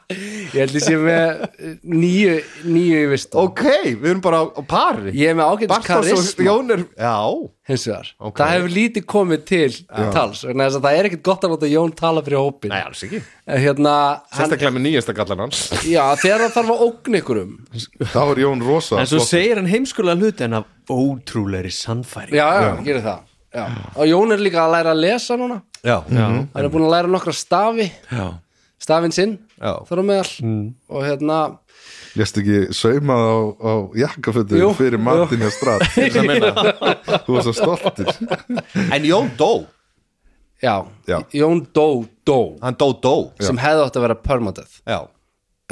ég held ég sé með nýju, nýju í vist
(laughs) Ok, við erum bara á, á pari
ég er með ágætis
Bartos og
karisma
Jón er Já,
hins vegar,
Ok.
það hefur lítið komið til tals, vegna þess að það er ekkit gott að láta Jón tala fyrir hópin
nei, alls ekki
En hérna, hann,
Sérstaklega með nýjasta gallan hans
já, þegar það þarf að ógn ykkurum já,
þá er Jón Rosa
en svo
flott.
segir hann heimskulega hlut en af ótrúlegri sannfæri
já, gerir það já. og Jón er líka að læra að lesa núna
Já, já,
hann er búin að læra nokkra stafi
já.
stafinn sinn,
Já.
þar á meðal og hérna
lest ekki saumað á, á jakkafötu
Jú,
fyrir
jú.
Martin að strat þú varst að stoltir
En Jón dó,
Já,
Já.
Jón Dó Dó
hann dó dó
sem hefði átt að vera permadeath
Já,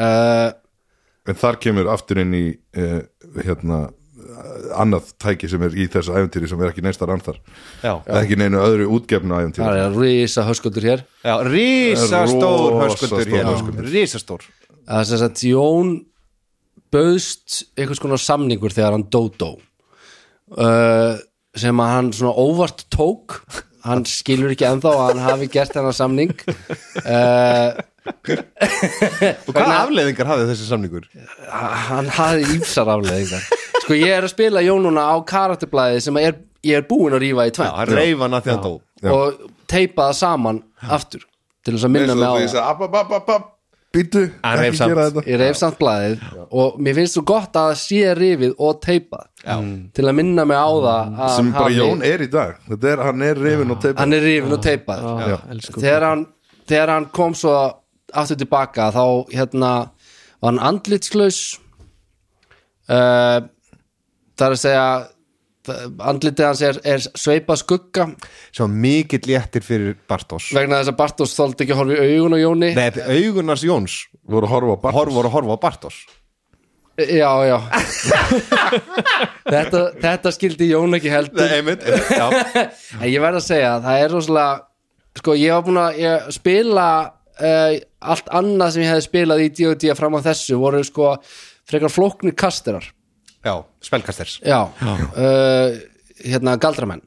uh,
en þar kemur aftur inn í uh, hérna eh, annað tæki sem er í þessu æfntýri sem er ekki neistar anþar
já,
það er ekki neinu öðru útgefnu
Það
æfntýri
er rísa höskuldur hér
já Rísastór
Rosa
höskuldur hérna.
stór
hér
höskuldur.
Rísastór
að þess að Eh, Jón bauðst einhvers konar samningur þegar hann Dó Dó uh, sem að hann svona óvart tók hann skilur ekki ennþá að hann hafi gert hennar samning uh,
Og hvaða afleiðingar hafði þessi samningur?
hann hafði ímsar afleðingar sko ég er að spila Jón núna á karakterblæði sem er, ég er búin að rífa í
Já,
tvænt
hann reif hann að því hann dó
og teipa það saman aftur til þess að minna mig á það
það býtu,
Hann reif
ekki
samt.
gera þetta
ég reif samt blaðið og mér finnst svo gott að það sé rifið og teipa Já. til að minna mig á það að
sem
hann
bara
hafi-
Jón er í dag Þetta er, hann er rifin og teipa
hann er rifin og teipað
Já, elsku.
þegar hann, þegar hann kom svo aftur tilbaka þá hérna var hann andlitslaus uh, það er að segja það- andlitið hans er, er sveipa skugga
Svo mikill léttir fyrir Bartos
vegna þess að Bartos þóldi ekki að horfa í augun á Jóni
Nei, augunars Jóns
voru að horfa á barn
horf, voru að horfa á Bartos
já, já (laughs) þetta, þetta skildi Jón ekki heldur
einmitt, einmitt, (laughs) já,
En ég verð að segja að það er rosalega sko ég var búin að ég, spila uh, allt annað sem ég hefði spilað í D.O.D. fram á þessu voru sko frekar flóknir kasterar
já, spelkasters
já, Uh, hérna galdramenn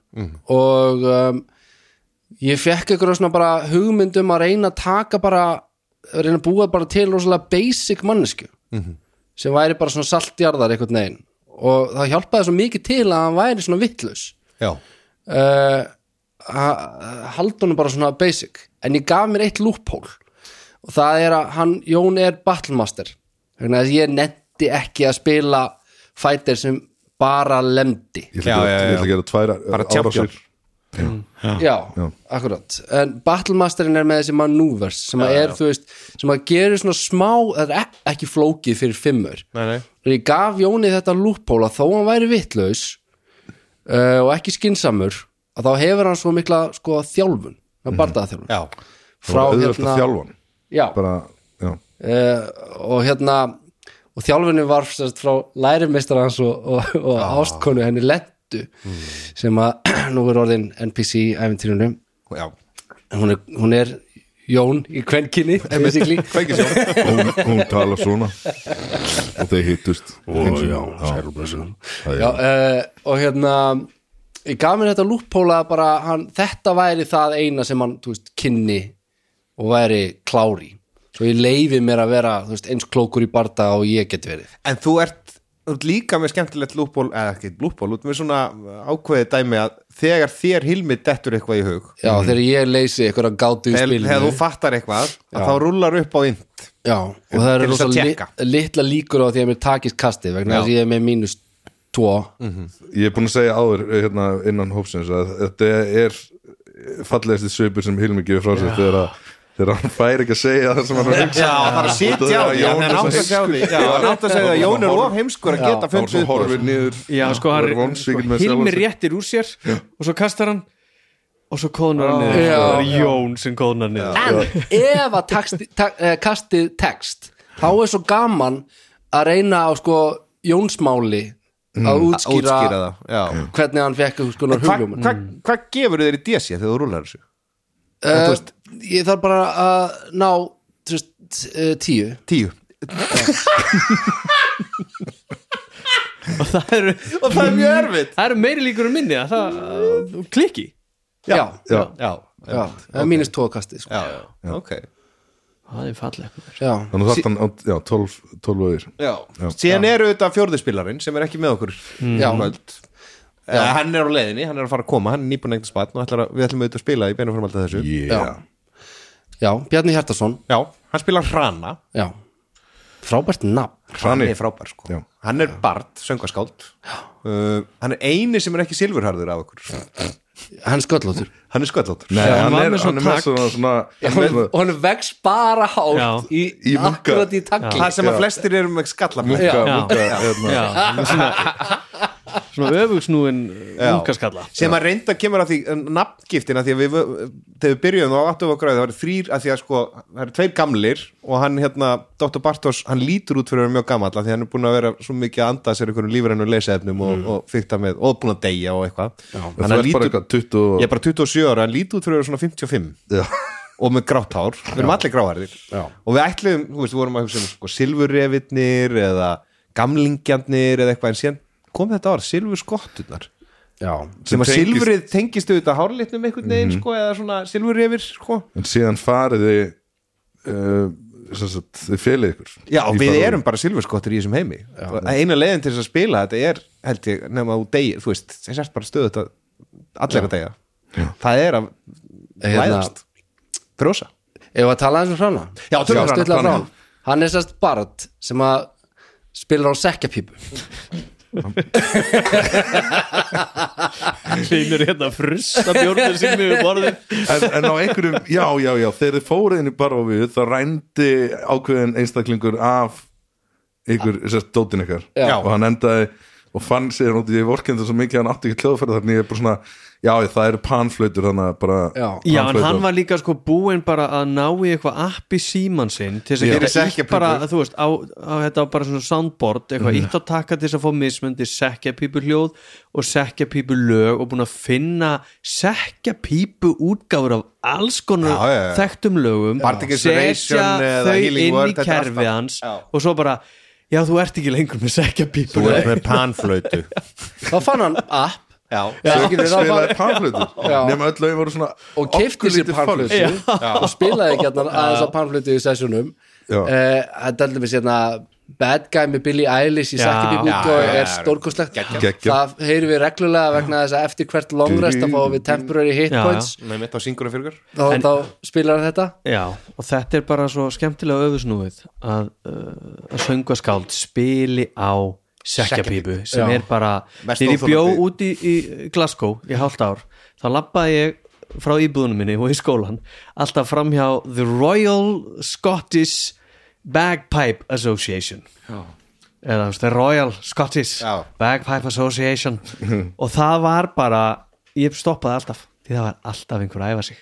og um, ég fekk eitthvað svona bara hugmyndum að reyna að taka bara reyna að búa bara til rosalega basic mannesku sem væri bara svona saltjarðar einhvern veginn og það hjálpaði svo mikið til að hann væri svona vittlaus
Já,
uh, haldunum bara svona basic en ég gaf mér eitt loophole og það er að hann, Jón er battlemaster þannig að ég netti ekki að spila fighter sem bara lemdi
ég ætla að
Já, já, já.
gera- ég ætla að gera tvær
Bara
árásir.
champion.
já, akkurat en battlemasterin er með þessi manúvers sem að er, þú veist, sem að gerir svona smá það er ek- ekki flókið fyrir fimmur
nei, nei
og ég gaf Jóni þetta lúppóla þó hann væri vittlaus uh, og ekki skinsamur að þá hefur hann svo mikla sko, þjálfun mm bardaðaþjálfun
Já,
Það var Mhm. auðvelt að þjálfa hann
já,
hérna, bara, já,
uh, og hérna og þjálfunni var sérst, frá lærimeistar hans og, og, og ástkonu henni Lentu
Mhm.
sem að (clears throat) nú er orðin NPC í æfintýrinu
já,
en hún er, hún er Jón í kvenkinni basically
hún, hún tala svona og þeir hittust og já,
Já, uh, og hérna ég gaf mér þetta lúppóla að bara hann, þetta væri það eina sem hann þú veist, kynni og væri klári svo ég leifi mér að vera þú veist, eins klókur í barda og ég get verið
en þú ert þú ert líka með skemmtilegt lúpból eða ekki lúpból, þú ert með svona ákveðið dæmi að þegar þér hilmið dettur eitthvað í hug
já, þegar ég leysi eitthvað gátu
Mhm.
í
þegar,
spilinu
þegar þú fattar eitthvað að þá rúlar upp á ynd
já, og það
Til
eru
þess að
rosa lit,
tékka.
litla líkur á því að mér takist kastið vegna
Já.
þess að ég er með mínus 2
ég er búin að segja áður hérna, innan hópsins að þetta er fallegasti svipur sem Hilmi gefur frá sér þegar, að, þegar hann fær ekki að segja það sem hann er að hugsa
Já, það er að sitja á því
Jón
hann
er
er átt að
svo
sjá því Já, hann átt að segja að Jón er of heimskur að geta
þá er svo
fundið upp á þessu.
horfir niður
Já, sko,
og
hann
er vonsvikinn með sjálfan
Hilmi
sig.
réttir úr sér og svo kastar hann og svo kóðnar hann niður
Já.
Það er Jón sem kóðnar niður
en ef að taksti, tak, eh, kastið tekst þá er svo gaman að reyna á sko Jónsmáli að
Mm.
útskýra, um
Útskýra það, já
hvernig hann fekk einhvers konar
Hvað
hugljómun
hva, hva gefur þér í DC þegar þú rúlar þessu?
uh, ég þarf bara að ná þú veist, eh, tíu
Tíu
og það eru
Og það er mjög erfitt
það eru meiri líkur en minni að það uh, klikki
já,
já,
Já,
já, það er mínus tvo kastið sko.
já, já, ok
það er fallegt
já,
þannig þarf hann á, já, 12 12 öðir
Já, síðan eru þetta fjórðuspilarinn sem er ekki með okkur
Já.
Kvöld Eh, Hann er á leiðinni, hann er að fara að koma, hann er nýbúin eignast barn og ætlar að, við ætlum auðvitað að spila í beinum fram alltaf þessu
yeah.
já, Bjarni Hjartason
Já, hann spilar hrana
já, frábært nafn
Hann
Hrani.
er frábær sko
Já.
Hann er Bart, söngaskáld uh, Hann er eini sem er ekki silfurharður af okkur
hann er sköllóttur
Hann er sköllóttur
Nei,
Já,
hann
hann var
er,
með
hann
svona
er með
takt.
svona, svona, svona
og hann vex bara hátt
Já.
í,
Í munka.
akkurat í takli
Það sem að flestir eru með skalla
munka,
Já.
munka hérna,
já, svona, svona uh, öfugsnúin ungaskalla
sem að reynda kemur að því eh, nafngiftin að því að við, þegar við byrjuðum á 8 og gráði það var þrýr, að því að sko það eru tveir gamlir og hann hérna Dr. Bartos, hann lítur út fyrir að vera mjög gamall að því að hann er búin að vera svo mikið að anda sér einhverjum lífrænum leysaefnum og, og fyrta með og búin að deyja og eitthvað
Mm. þú
hann
ert bara
lítur,
eitthvað 20 og-
ég er bara 27 ára, hann lítur út fyrir að vera svona 55
Já.
og með grátt hár, við erum allir gráhærðir og við ætluðum, þú veist, við vorum að hugsa um sko, silfurrefirnir eða gamlingjarnir eða eitthvað en síðan kom þetta ár, silfurskotturnar
já,
sem að
tengist-
silfrið tengist auðvitað hárlitnum einhvern veginn sko, eða svona silfurrefir sko.
en síðan farið þið uh, sem sagt, þið felið ykkur
já,
Í
og við
bara-
erum bara silfurskottur í þessum heimi og eina leiðin til þess að spila þetta er held ég, nema þú degi, þú veist þess er bara stöðu þetta allir að degja það er að
Hérna-
læðast brosa
ef að tala eins og hrána
Já, tölum um Hrana.
stuttlega frá
Hrana.
honum. hann er sérst Bart sem að spilar á sekkjapípu
sem er hérna frusta bjórnir sem við borðum
en, en á
(laughs)
einhverjum, já, já, já, þegar þið fóruðinni bara á við þá rændi ákveðin einstaklingur af ykkur, sérst, dótin ykkar
Já.
og hann endaði og fann sér út í ég vorkendur svo mikið að hann átti ekki hljóðferð þannig ég er bara svona, já það eru panflautur þannig að bara
Já.
Já, en hann
panflautur.
var líka sko búinn bara að ná í eitthvað app í síman sinn til þess að
Já.
gera
Gera
ítt bara,
sekkjapípur.
þú veist, á, á þetta á bara svona soundboard,
Mhm.
eitthvað ítt á taka til þess að fá mismöndi sekkjapípu hljóð og sekkjapípu lög og búinn að finna sekkjapípu útgáfur af alls konar
Já, já, já.
þekktum lögum
Particles Ration
setja
eða
þau
Healing
inn
Word,
í
þetta er allt
kerfið
það.
hans
Já.
og svo bara, já, þú ert ekki lengur með sekkjapípu
Þú
(laughs)
ert með panflötu
þá fann hann app
Já,
Já.
Svo
skilur, þá
spilaði
var-
panflautur
Já.
nema öll lögin voru svona
og keipti sér
orkulítið
panflutu
falsk.
og spilaði gætna aðeins á panflutu í Eh, sessjónum
Já.
það dældi mig sérna hérna Bad Guy með Billie Eilish í Sakkibík
já,
útgóð
já, já,
er
já.
stórkostlegt
Geggjað.
það heyrum við reglulega vegna þess að eftir hvert longrest þá fáum við temporary hit
Já, já.
points
með mitt á singuna fyrir ykkur.
þá,
En-
þá spilar hann þetta
Já, og þetta er bara svo skemmtilega öfusnúið að, uh, að söngaskáld spili á sekkjapípu sem
Já.
er bara
Mest
þegar ég bjó
óþolandi.
út í, í Glasgow í hálft ár, þá labbaði ég frá íbúðunum minni og í skólan alltaf framhjá The Royal Scottish Bagpipe Association eða þú veist, The Royal Scottish
Já.
Bagpipe Association og það var bara, ég stoppaði alltaf því það var alltaf einhver að æfa sig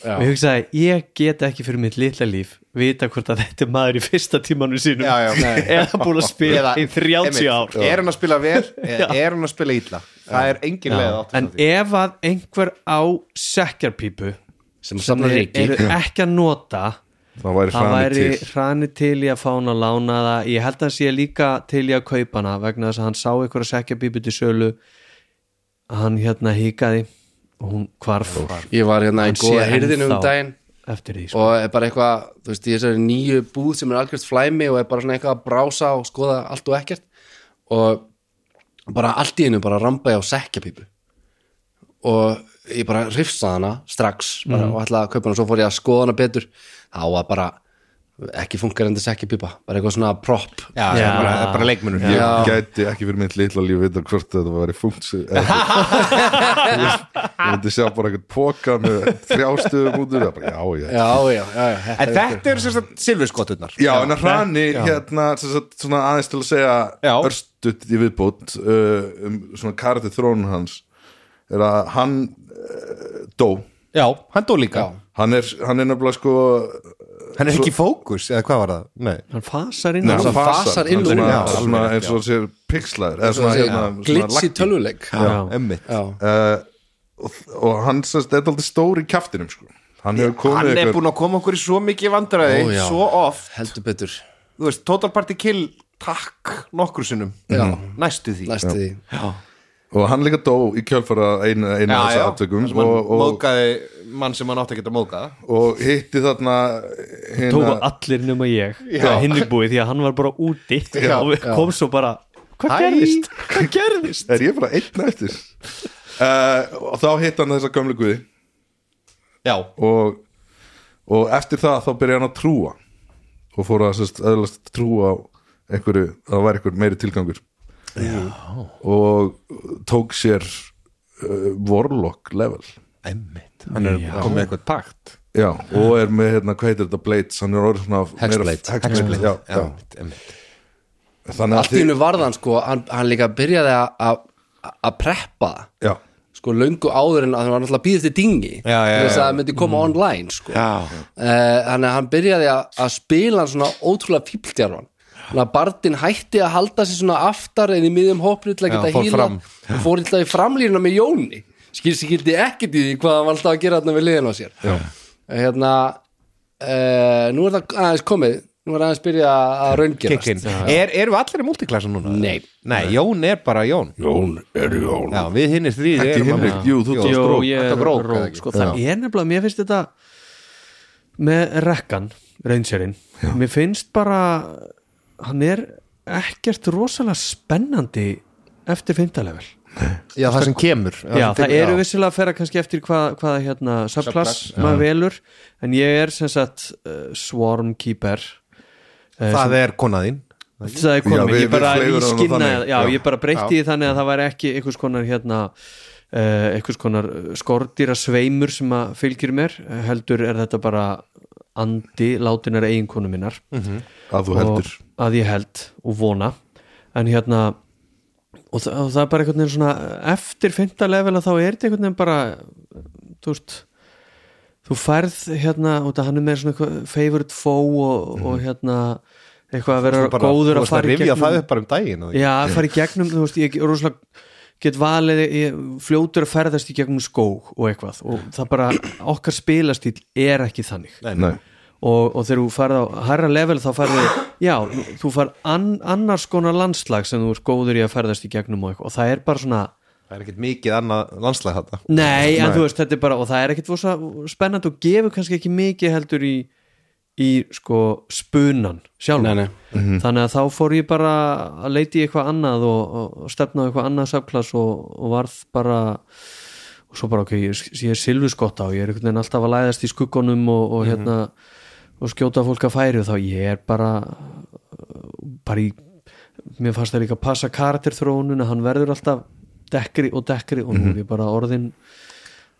og ég hugsaði, ég get ekki fyrir mitt litla líf vita hvort að þetta er maður í fyrsta tímanu sínum
Já, já. (laughs) Nei.
(laughs) eða búin að spila í 30 ár
einmitt, sko. Er hann að spila (laughs) vel, eða er hann að spila illa Það er engin leið átt
en ef að einhver á sekkjarpípu
sem
sem
samlar
þeir
ríki
eru ekki að nota
það væri
það
hranið
væri
til
hrani til í að fá hann að lána það ég held að hann sé líka til í að kaupa hana vegna þess að hann sá einhverja sekkjarpípu til sölu hann hérna híkaði og hún hvarf
ég var hérna í
Hann
góða
sé
hyrðinu um
ennþá
daginn
eftir því sko.
og er bara eitthvað, þú veist, í þessari nýju búð sem er algjörst flæmi og er bara svona eitthvað að brása og skoða allt og ekkert og bara allt í einu bara ramba ég á sekkjapípu og ég bara hrifsaði hana strax bara, og ætlaði að kaupa hana og svo fór ég að skoða hana betur þá var bara ekki fungerandi sekkjapípa, bara eitthvað svona prop
Já, já.
Já.
Bara, bara leikmunur
ég
Já.
gæti ekki fyrir mitt litla líf vita hvort þetta var í funktsi ég myndi sjá bara eitthvað póka með þrjástöðum út úr það bara, já, já,
já, já, já, já, þetta
En þetta eru sem sagt silfurskoturnar
já, en að hrani hérna, sem sagt, svona aðeins til að segja
Já.
örstutt í viðbót uh, um svona karti þrónun hans er að hann uh, dó,
Já, hann dó líka
hann er, hann er nefnilega sko
Hann er ekki í fókus, eða hvað var það? Nei
hann fasar inn
Nei,
á
hann
Hann fasar inn
hann
úr
svona,
honum. Já.
svona eins og hann sér pixlaður eða svona,
er
hérna,
svona glitsi
lagdi.
tölvuleik
Já.
Emmitt
já,
og hann sérst, þetta er aldrei stór í kjaftinum sko. hann hefur komið
Hann er
einhver-
búin að koma okkur í svo mikið vandræði
Ó, já.
Svo oft
heldur betur
Þú veist, Total Party Kill Takk nokkur sinnum Mm.
Já.
Næstu því
næstu því,
og hann líka dó í kjölfara einu, einu af þessu aftökum
Þar sem hann
og, og,
móðgaði mann sem hann átti að geta móðgað
og hitti þarna
tóku
hérna,
allir nema ég hinn er búið því að hann var bara úti og kom svo bara hvað
Hæ?
gerðist, hvað gerðist
er ég bara einn eftir uh, og þá hitti hann þessa gömlu guði
Já,
og, og eftir það þá byrja hann að trúa og fór að sérst, öðlast trúa á einhverju, að það væri einhver meiri tilgangur Já. og tók sér uh, Warlock level
emmitt Hann er komið með eitthvað takt
Já, og er með hérna, hvað heitir þetta, Blades hann er orðið svona meira-
Hexblade.
Hexblade, já, já.
Emmitt, emmitt
Þannig
allt í einu varðan sko, hann, hann líka byrjaði að- að að preppa það
já,
sko löngu áður en að hann var náttúrulega býðið til dingi
Já, já,
til
já.
þess
Mm.
að það myndi koma online sko. uh, þannig að hann byrjaði að, að spila hann svona ótrúlega fíbldjarfan þannig að Bartin hætti að halda sig svona aftar en í miðjum hópinu til að
Já,
geta
fór
hýla
fram.
og fór illa í framlýruna með Jóni skilsi gildi ekkert í því hvað hann var alltaf að gera þarna við liðin á sér já. hérna uh, nú er það aðeins komið nú er aðeins byrjað að- að raungerast
Kikkin er, Erum við allir í múltiklasa núna?
Nei.
Nei, Jón er bara Jón
Jón er Jón
Já, við hinnir þrýð
Ekki Hinrik, jú, þú tókst
Jó,
rók
ég
Þetta
er
var rók, eða
rók
ekki?
sko, það er nefnilega, mér finnst þetta með rekkan reynserinn, mér finnst bara hann er ekkert rosalega spennandi eftir fymtalevel
Já, það sem kemur
Já, það eru
við
vissilega að færa kannski eftir hvað, hvað hérna,
Subclass,
subclass maður velur en ég er sem sagt uh, Swarm Keeper uh,
Það er konaðinn
það er
Já,
komið,
við-
ég bara
við fleygum honum
ískinna
þannig.
já,
Já.
ég bara breytti því þannig að það væri ekki einhvers konar hérna uh, einhvers konar skordýra sveimur sem að fylgir mér,
Mhm.
heldur er þetta bara andi látinar eiginkonu minnar
að þú heldur
og að ég held og vona en hérna og það, og það er bara einhvern veginn svona eftir fynda level að þá er þetta einhvern veginn bara þú veist þú færð hérna og það hann er með svona eitthvað favorite foe og, og hérna eitthvað að vera
bara, Mhm. þú
góður að
veist að
fara í
rifja
gegnum
það upp bara um daginn eða ekki?
Já, að fara í gegnum, þú veist, ég er rosalega get valið, ég fljótur að ferðast í gegnum skóg og eitthvað og það bara, okkar spilastíl er ekki þannig
Nei.
og, og þegar þú farið á herra level þá farið já, þú farið an, annars konar landslag sem þú ert góður í að ferðast í gegnum og eitthvað og það er bara svona
það er ekkert mikið annað landslæg þetta
Nei, en þú veist, þetta er bara og það er ekkit vosa spennandi og gefur kannski ekki mikið heldur í, í sko spunan sjálf
Nei, nei.
þannig að þá fór ég bara að leiti í eitthvað annað og, og- og stefna á eitthvað annað subklass og, og varð bara og svo bara ok, ég, er- ég er silfuskotta og ég er einhvern veginn alltaf að læðast í skuggunum og,
Mhm.
og hérna og skjóta fólk að færi og þá ég er bara bara í mér fannst það líka að passa karakterþróununa hann verður alltaf dekkri og dekkri og
Mhm.
nú er ég bara orðin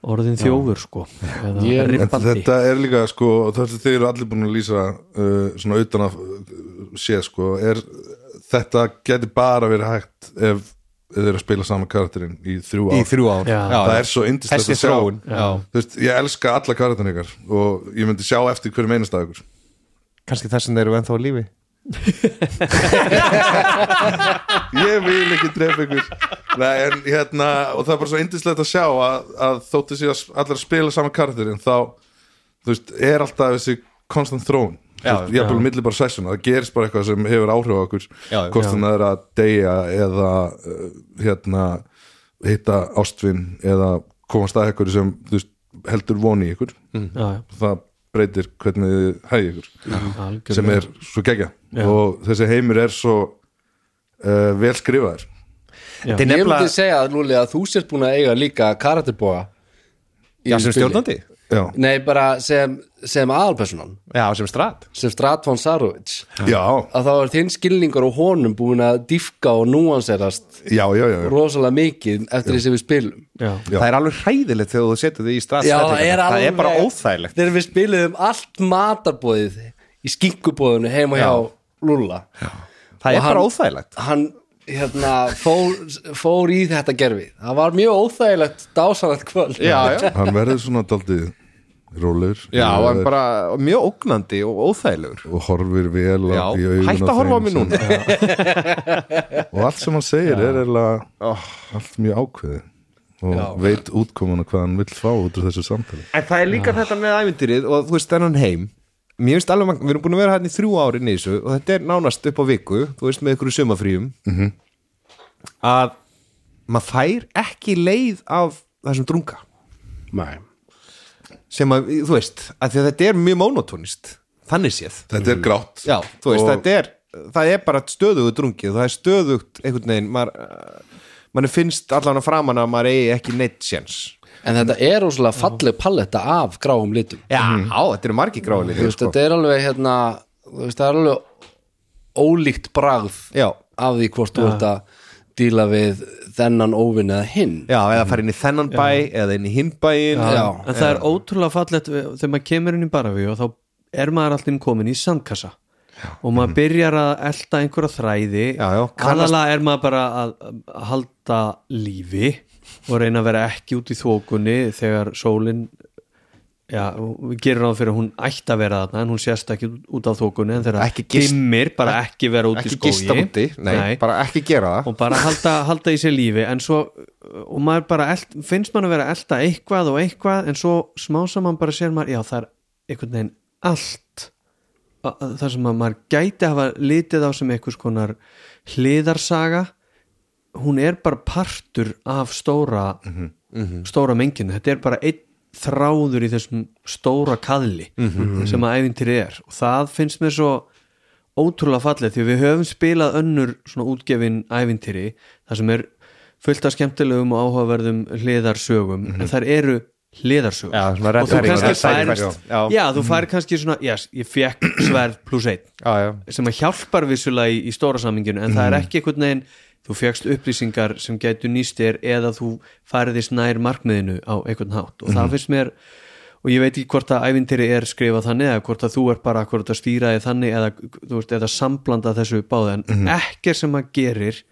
orðin þjófur sko eða
Ég-
En
ribbandi
þetta er líka sko þetta þeir eru allir búin að lýsa uh, svona utan að uh, sé sko er, þetta geti bara verið hægt ef ef þeir eru að spila saman karakterinn í þrjú ár
í þrjú ár
Já.
það er svo yndislegt
Þessi
að sjá
þróun, já.
Þú veist, ég elska alla karakterinn ykkar og ég myndi sjá eftir hverjum einasta af ykkur
kannski þess vegna eru ennþá á lífi
ég vil ekki drepa ykkur Nei, en, hérna, og það er bara svo indislegt að sjá að, að þótti sér að allir að spila saman karakterinn þá þú veist, er alltaf þessi constant þróun
Já,
ég er bara milli bara session það gerist bara eitthvað sem hefur áhrif á okkur
Já, já.
hvort þannig að það er að deyja eða uh, hérna hitta ástvin eða komast að eitthvað sem þú veist, heldur voni í ykkur
Mm.
já, já,
það breytir hvernig þið hægir ykkur
algjörlega.
sem er svo gegja
Já.
og þessi heimur er svo uh, vel skrifaður
Ég myndi segja að Lúli að þú sért búin að eiga líka karakterbóa í
já, sem
spili.
stjórnandi,
já,
Nei, bara sem, sem aðalpersonan
já, sem strat
sem Stratvan Sarovic
já,
að þá er þinn skilningur og honum búin að dýfka og núanserast
já, já, já, já.
rosalega mikið eftir því sem við spilum
já,
Já.
það er alveg hræðilegt þegar þú setur þig í strat það er bara óþægilegt
Þegar við spilum allt matarbóðið í skinkubóðinu heima hjá Lúlla
það
Og
er bara
hann-
óþægilegt
Hann hérna, fór, fór í þetta gerfi Það var mjög óþægilegt dásanat kvöld
(laughs) já,
hann verður svona daldið rólegur
já, hann
eh,
bara mjög ógnandi og óþægilegur
og horfir vel á-
Já,
í augun
hætt að horfa á mig núna
og allt sem hann segir er eiginlega
Oh.
allt mjög ákveði og veit útkomuna hvað hann vill fá út úr þessu samtali
En það er
Ah.
líka þetta með ævindýrið og þú veist þennan heim Mér finnst alveg, magn- við erum búin að vera hérna í þrjú ári í þessu og þetta er nánast upp á viku þú veist með ykkur sumafríum -hmm.
Mhm.
að maður fær ekki leið af þessum drunga
Nei.
sem að, þú veist, að því að þetta er mjög mónotónist þannig séð
þetta er grátt
Já, þú veist,
Og-
þetta er það er bara stöðugu drungi og það er stöðugt einhvern veginn, maður mann finnst allan að framan að maður eigi ekki neitt séns
En þetta er rosalega falleg palletta af gráum litum
Já,
Mhm.
þetta eru margi
Þú
gráðlega
veist, Þetta er alveg hérna þú veist, Það er alveg ólíkt bragð
Já,
af því hvort þú ert að díla við þennan óvinn eða hinn
Já, eða fara inn í þennan bæ eða inn í hinn bæin
Já.
en það er ótrúlega fallegt við- þegar maður kemur inn í Baravíu og þá er maður alltaf komin í sandkassa og maður byrjar að elda einhverja
Mhm. Já,
þræði
já, kannast-
kannala er maður bara að að halda lífi og reyna að vera ekki út í þókunni þegar sólin já, við gerum ráð fyrir að hún ætti að vera þarna en hún sést ekki út af þókunni en þegar
Ekki gist-
dimmir bara ekki vera út
ekki
í skógi
gista úti, nei, bara ekki gera það
og bara halda, halda í sér lífi en svo, uh, og maður bara eld, finnst maður að vera að elda eitthvað og eitthvað en svo smá saman bara sér maður já það er einhvern veginn allt a- a- það sem að maður gæti hafa litið á sem einhvers konar hliðarsaga hún er bara partur af stóra
Mhm.
stóra menginu, þetta er bara einn þráður í þessum stóra kaðli
Mhm.
sem að ævintýri er og það finnst mér svo ótrúlega fallið því við höfum spilað önnur svona útgefin ævintýri þar sem er fullt af skemmtilegum og áhugaverðum hliðarsögum en þær eru
Mhm.
hliðarsögum
Já, svona
og þú
reddari-
kannski
reddari-
færst
já.
já, þú fær kannski svona, yes, ég fekk sverð pluss einn
já, já.
sem að hjálpar vissulega í, í stóra saminginu en það er ekki einhvern veginn þú fegst upplýsingar sem Mhm. gætu nýst þér eða þú fariðist nær markmiðinu á einhvern hátt og það finnst mér og ég veit ekki hvort að ævintýri er skrifað þannig eða hvort að þú er bara hvort að stýra því þannig eða, þú veist, eða samblanda þessu báði en ekkert sem maður gerir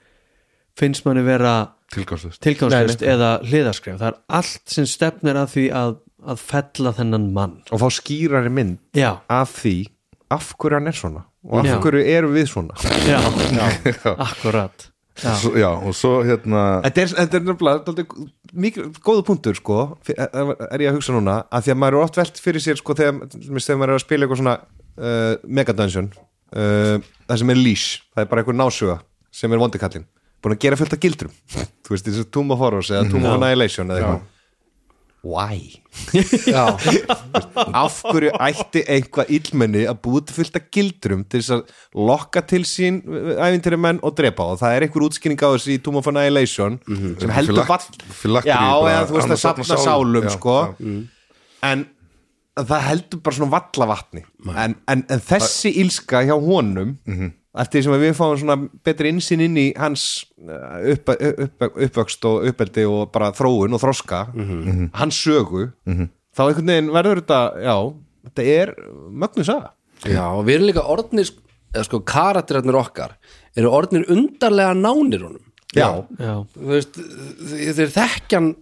finnst manni vera
tilgangslust
tilgangslust eða hliðaskref það er allt sem stefnir að því að, að fella þennan mann
og fá skýrari mynd
já,
af því af hverju hann er svona og af
Já.
hverju erum við svona
já, (laughs) akkurat já,
Svo- Já, og svo hérna
Þetta er, þetta er nefnilega dálítið mikið, góðu punktur sko, fyr- er ég að hugsa núna að því að maður er oft velt fyrir sér sko, þegar, til dæmis þegar maður er að spila eitthvað svona uh, megadunsjón uh, það sem er lýs, það er bara einhver násuga sem er vondikallin, búin að gera fullt af gildrum (laughs) þú veist, þessi Tomb of Horrors eða Tomb of Annihilation eða eitthvað Why? af hverju ætti einhvað illmenni að búi til fullt að gildrum til þess að lokka til sín æfintýri menn og drepa á. það er einhver útskýring á þessu í Tomb of Annihilation
Mhm.
sem heldur
Phylak-
vall
phylactery,
já,
bara
eða þú veist að
annars safna
safna
sálum,
sálum
já,
sko en það heldur bara svona valla vatni en, en, en þessi ílska hjá honum
Mhm.
eftir því sem að við fáum svona betri innsinn inn í hans uh, upp, upp, uppvöxt og uppeldi og bara þróun og þroska
Mhm.
Mhm. hans sögu þá einhvern veginn verður þetta já, þetta er mögnu saga
Já, og við erum líka orðnir sk- eða sko karakterarnir okkar eru orðnir undarlega nánir honum
já,
já,
þú veist, þe- þeir þekkjan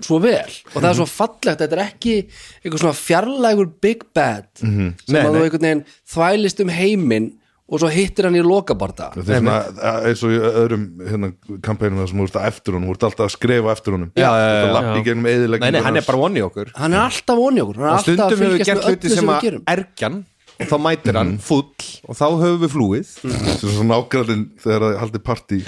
svo vel og
Mhm.
það er svo fallegt þetta er ekki eitthvað svona fjarlægur big bad sem
Mhm. Nei,
að þú
nei.
einhvern veginn þvælist um heiminn og svo hittir hann í lokabarta
Þetta er svona eins og í öðrum hérna, kampænum þar sem þú ert að eftir honum, þú ert alltaf að skrefa eftir honum
Já, já,
Þetta
já,
lappi í gegnum eðilegum
nei, nei, hann er bara vonni okkur
hann er alltaf voni okkur hann er
og
alltaf að
stundum hefur við
fylgjast
gert
með
hluti
öllu
sem
sem við
að
gerum Mhm.
ergjan og þá mætir hann full og þá höfum við flúið
Svo svona nákvæðin þegar það haldi partí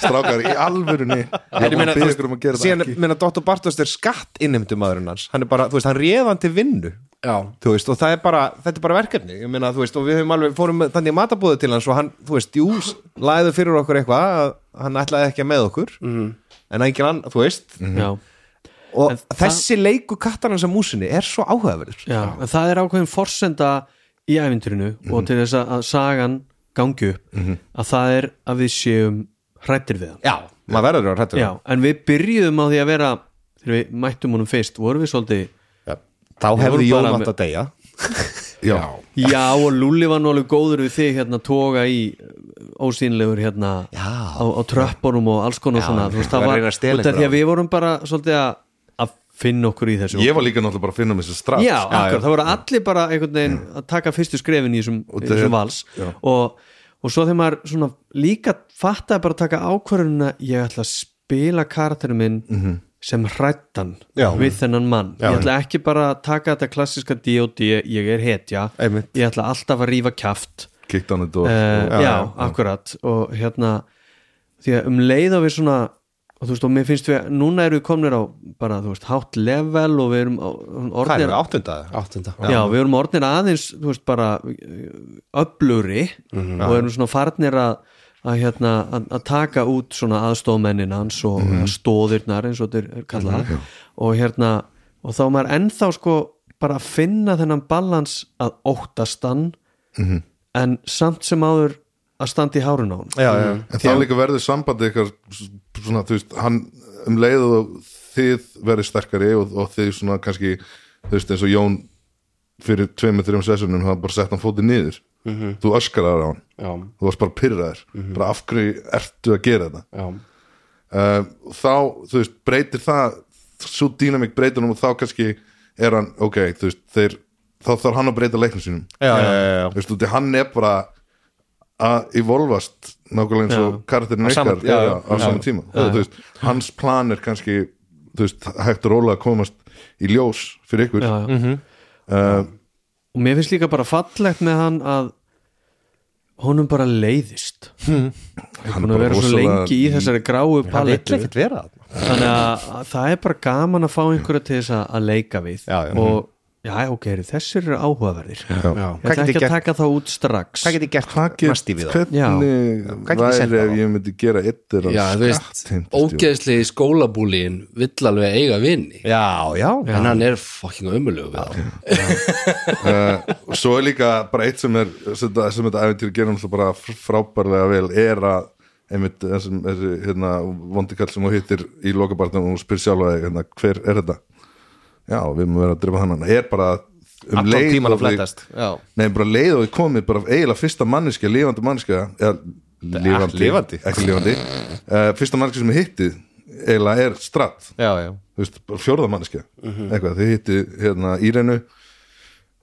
Strákar í alvörunni
En
Ég
ég
var
meina,
að
þú
byrja
veist,
ykkur um að gera
síðan,
það ekki
meina, Dr. Bartos er skatt innheimtum aðurinn hans hann er bara, þú veist, hann réðan til vinnu
já,
þú veist, og það er bara, þetta er bara verkefni ég meina, þú veist, og við höfum alveg, fórum með- þannig matabúðu til hans og hann, þú veist, jú, læðu fyrir okkur eitthvað, að hann ætlaði ekki að með okkur mm. en engin ann, þú veist
já.
og
Mhm. En það-
þessi leiku kattarnans að músinni er svo áhugaverður
Já, en það er ákveðin forsenda í æfinturinu
Mhm.
og til þess að að sagan gangi upp að það er að við séum hrættir við hann
já, maður verður að hrættur
Já, en við byrjuðum á því að vera þegar við mættum honum fyrst, vorum við svolítið
þá
vorum
hefði
bara
Jón
með-
átt að deyja
Já,
Já, og Lúli var nú alveg góður við þig hérna toga í ósýnlegur hérna
Já.
á, á tröppunum og alls konar
Já,
svona þú veist, það
var að
var,
reyna að stela
út af því
einhverju.
að við vorum bara svolítið að, að finna okkur í þessu
ég var líka náttúrulega bara að finna mér þessi strax
já, akkur, það voru allir bara einhvern veginn að taka fyrstu skrefin í þessum, í
það-
þessum vals
já.
og, og svo þegar maður svona líka fattaði bara að taka ákvörðunina ég ætla að spila karakterum minn sem hrættan
Já.
við þennan mann, ég ætla ekki bara að taka þetta klassiska D.O.D. ég er hetja,
Einmitt.
ég ætla alltaf að rífa kjaft
Kikkt hann þetta
uh, já,
og
akkurat og hérna því að um leið og við svona og þú veist og mér finnst við, núna erum við komnir á bara þú veist, hátt level og við erum á,
hvað
orðnir
er það, áttunda?
áttunda
Já, við erum orðnir aðeins, þú veist, bara öbluri og erum svona farnir að að, hérna, að, að taka út svona aðstofmennin hans og mm stóðirnar eins og þetta er kallað og hérna, og þá er maður ennþá sko bara að finna þennan balans að óttast hann Mhm. en samt sem áður að standa í hárun á hann
já, já,
En það líka verður sambandi ykkar svona, þú veist, hann um leið og þið verður sterkari og, og þið svona kannski, þú veist, eins og Jón fyrir tveimur, þreim sessunum hann bara sett hann fótið niður þú öskaraðar á hann,
Mhm. já, Mhm.
þú varst bara pyrraðar bara af hverju ertu að gera þetta
já,
uh, þá, þú veist, breytir það svo dýnamík breytir hann og þá kannski er hann, ok, þú veist, þeir þá þarf hann að breyta leiknum sínum
já, já, já, já.
þú veist, út í hann er bara að evolvast nákvæmlega eins og karakterin
Á sama-
ykkar
já,
er
já,
á saman tíma og, þú veist, hans plan er kannski þú veist, hægt og rólega að komast í ljós fyrir ykkur
já, já. og mér finnst líka bara fallegt með hann að honum bara leiðist Mhm. hann er
bara
verið svo
rosalega-
lengi í þessari gráu
hann vill
palettu
ekkert vera það
þannig að að það er bara gaman að fá einhverja til þess að, að leika við
Já, já.
og já, ok, eru þessir eru áhugaverðir já.
já.
ég
Hvað
ætla
get
ekki
ég
að
gert?
taka það út strax
hvað get ég gert
Hvað get-
næst í við það? Hvað
hvernig
get ég sett
væri
það á?
ef ég myndi gera yttir
já, þú veist, ógeðslegi skólabúlin vill alveg eiga vini
já, já,
en hann er fucking ömulegu við það
og svo er líka bara eitt sem er sem þetta, sem þetta æfintýri gerum svo bara fr- frábærlega vel er að einmitt þessum þessi, hérna, vondikall sem hún hittir í lokabartum og hún spyr sjálf að hérna, hver er þetta já, við erum að vera að drefa þannan er bara um
Allan
leið
tímann
og
að
við-
flettast, já.
nei, bara leið og við komið bara eiginlega fyrsta manneskja, lifandi manneskja eða lifandi,
lifandi.
ekki lifandi uh, fyrsta manneskja sem ég hitti eiginlega er stratt
já, já,
þú veist, bara fjórða manneskja eitthvað, þið hitti hérna Írenu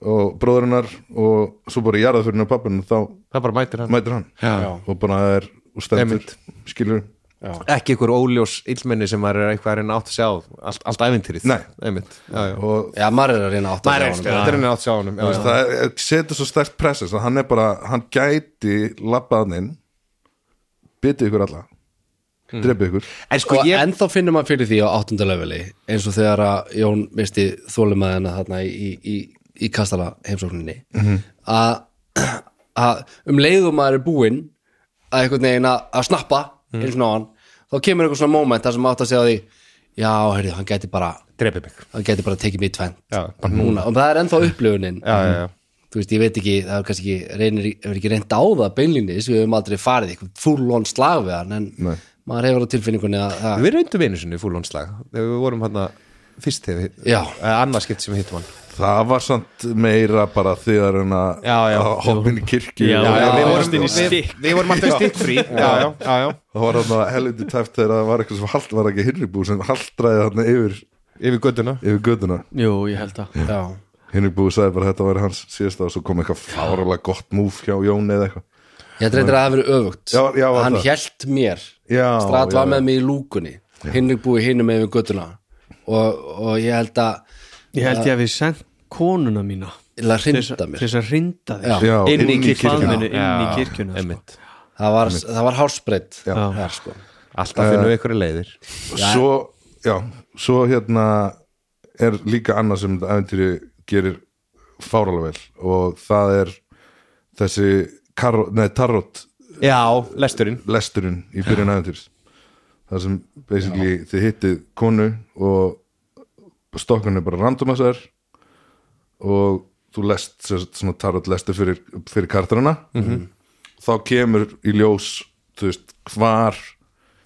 og bróðurinnar og svo bara jarðað fyrir hennar pappinu þá
það bara mætir hann
mætir hann já. og bara er og stendur, skilur
ekki einhver óljós illmenni sem maður er eitthvað að reyna átt að sjá allt, allt æfintýrið
Nei.
einmitt, já, já
og
Já, maður er að reyna átt
maður er ekki að reyna átt að sjá honum já, já.
það er- er- setur svo stærkt pressis að hann er bara, hann gæti labbaðaninn bitið ykkur alla drepið ykkur
en sko
Og
ég,
ennþá finnum maður fyrir því á áttunda leveli eins og þegar að Jón misti þólumæðina þarna í, í, í, í kastala heimsókninni
Mhm.
að að um leiðum maður er búinn að einhvern veginn að, að snappa
Mhm.
eins og ná hann, þá kemur einhvern svona moment þar sem átt að segja því já, heyrðu, hann gæti bara
drepi mig
hann gæti bara tekið mig í tvennt
Já, bara
núna, og það er ennþá upplifunin
já, já, já,
þú veist, ég veit ekki, það er kannski ekki reynir, hefur ekki reynd á það beinlínis við höfum aldrei farið eitthvað full on slag við hann en maður hefur á tilfinningunni að, að
við reyndum einu sinni fúlónslag þegar við vorum hann fyrst þegar við
Já.
eða annað skipt sem við hittum hann
það var samt meira bara þegar en að
Já, já.
að hoppa inn í kirkju
Já,
Já, já, við vorum-
varst inn í
við-
stikk.
við vorum alltaf stikkfrí já, já, já, já
það var hann að helviti tæft þegar það var eitthvað sem hald var ekki Hinrikbú sem haldraði þarna yfir,
yfir göttuna
yfir göduna
Jú, ég held að
já,
Hinrikbú sagði bara að þetta var hans síðasta og svo kom eitthvað fáralega gott múf hjá Jóni eða eitthvað
ég held reyndir að það hafi verið öfugt
Já, já, var
hann
það.
hjælt mér
Já,
Strat
já,
var með
já.
mig í lúkunni Hinrik búi hinum yfir göttuna og, og ég held að
Ég held ég að við sendt konuna mína
ég held að
til þess
hrinda
að- til
mér
þess að hrinda þig
Já.
sko.
Já,
Inn í kirkjuna.
Faðminu
Já.
inn í kirkjuna sko.
einmitt
það var, það var hásbreytt þar sko
alltaf finnum við ykkur leiðir
svo, já, svo hérna er líka annað sem þetta æventýri gerir fáralega vel og það er þessi karo, nei, tarot
já, lesturinn
lesturinn í byrjun æventýris það sem basically þið hittið konu og stokkan er bara randomassar og þú lest sem sagt, svona tarot lestur fyrir, fyrir kartrana
Mhm.
þá kemur í ljós þú veist hvar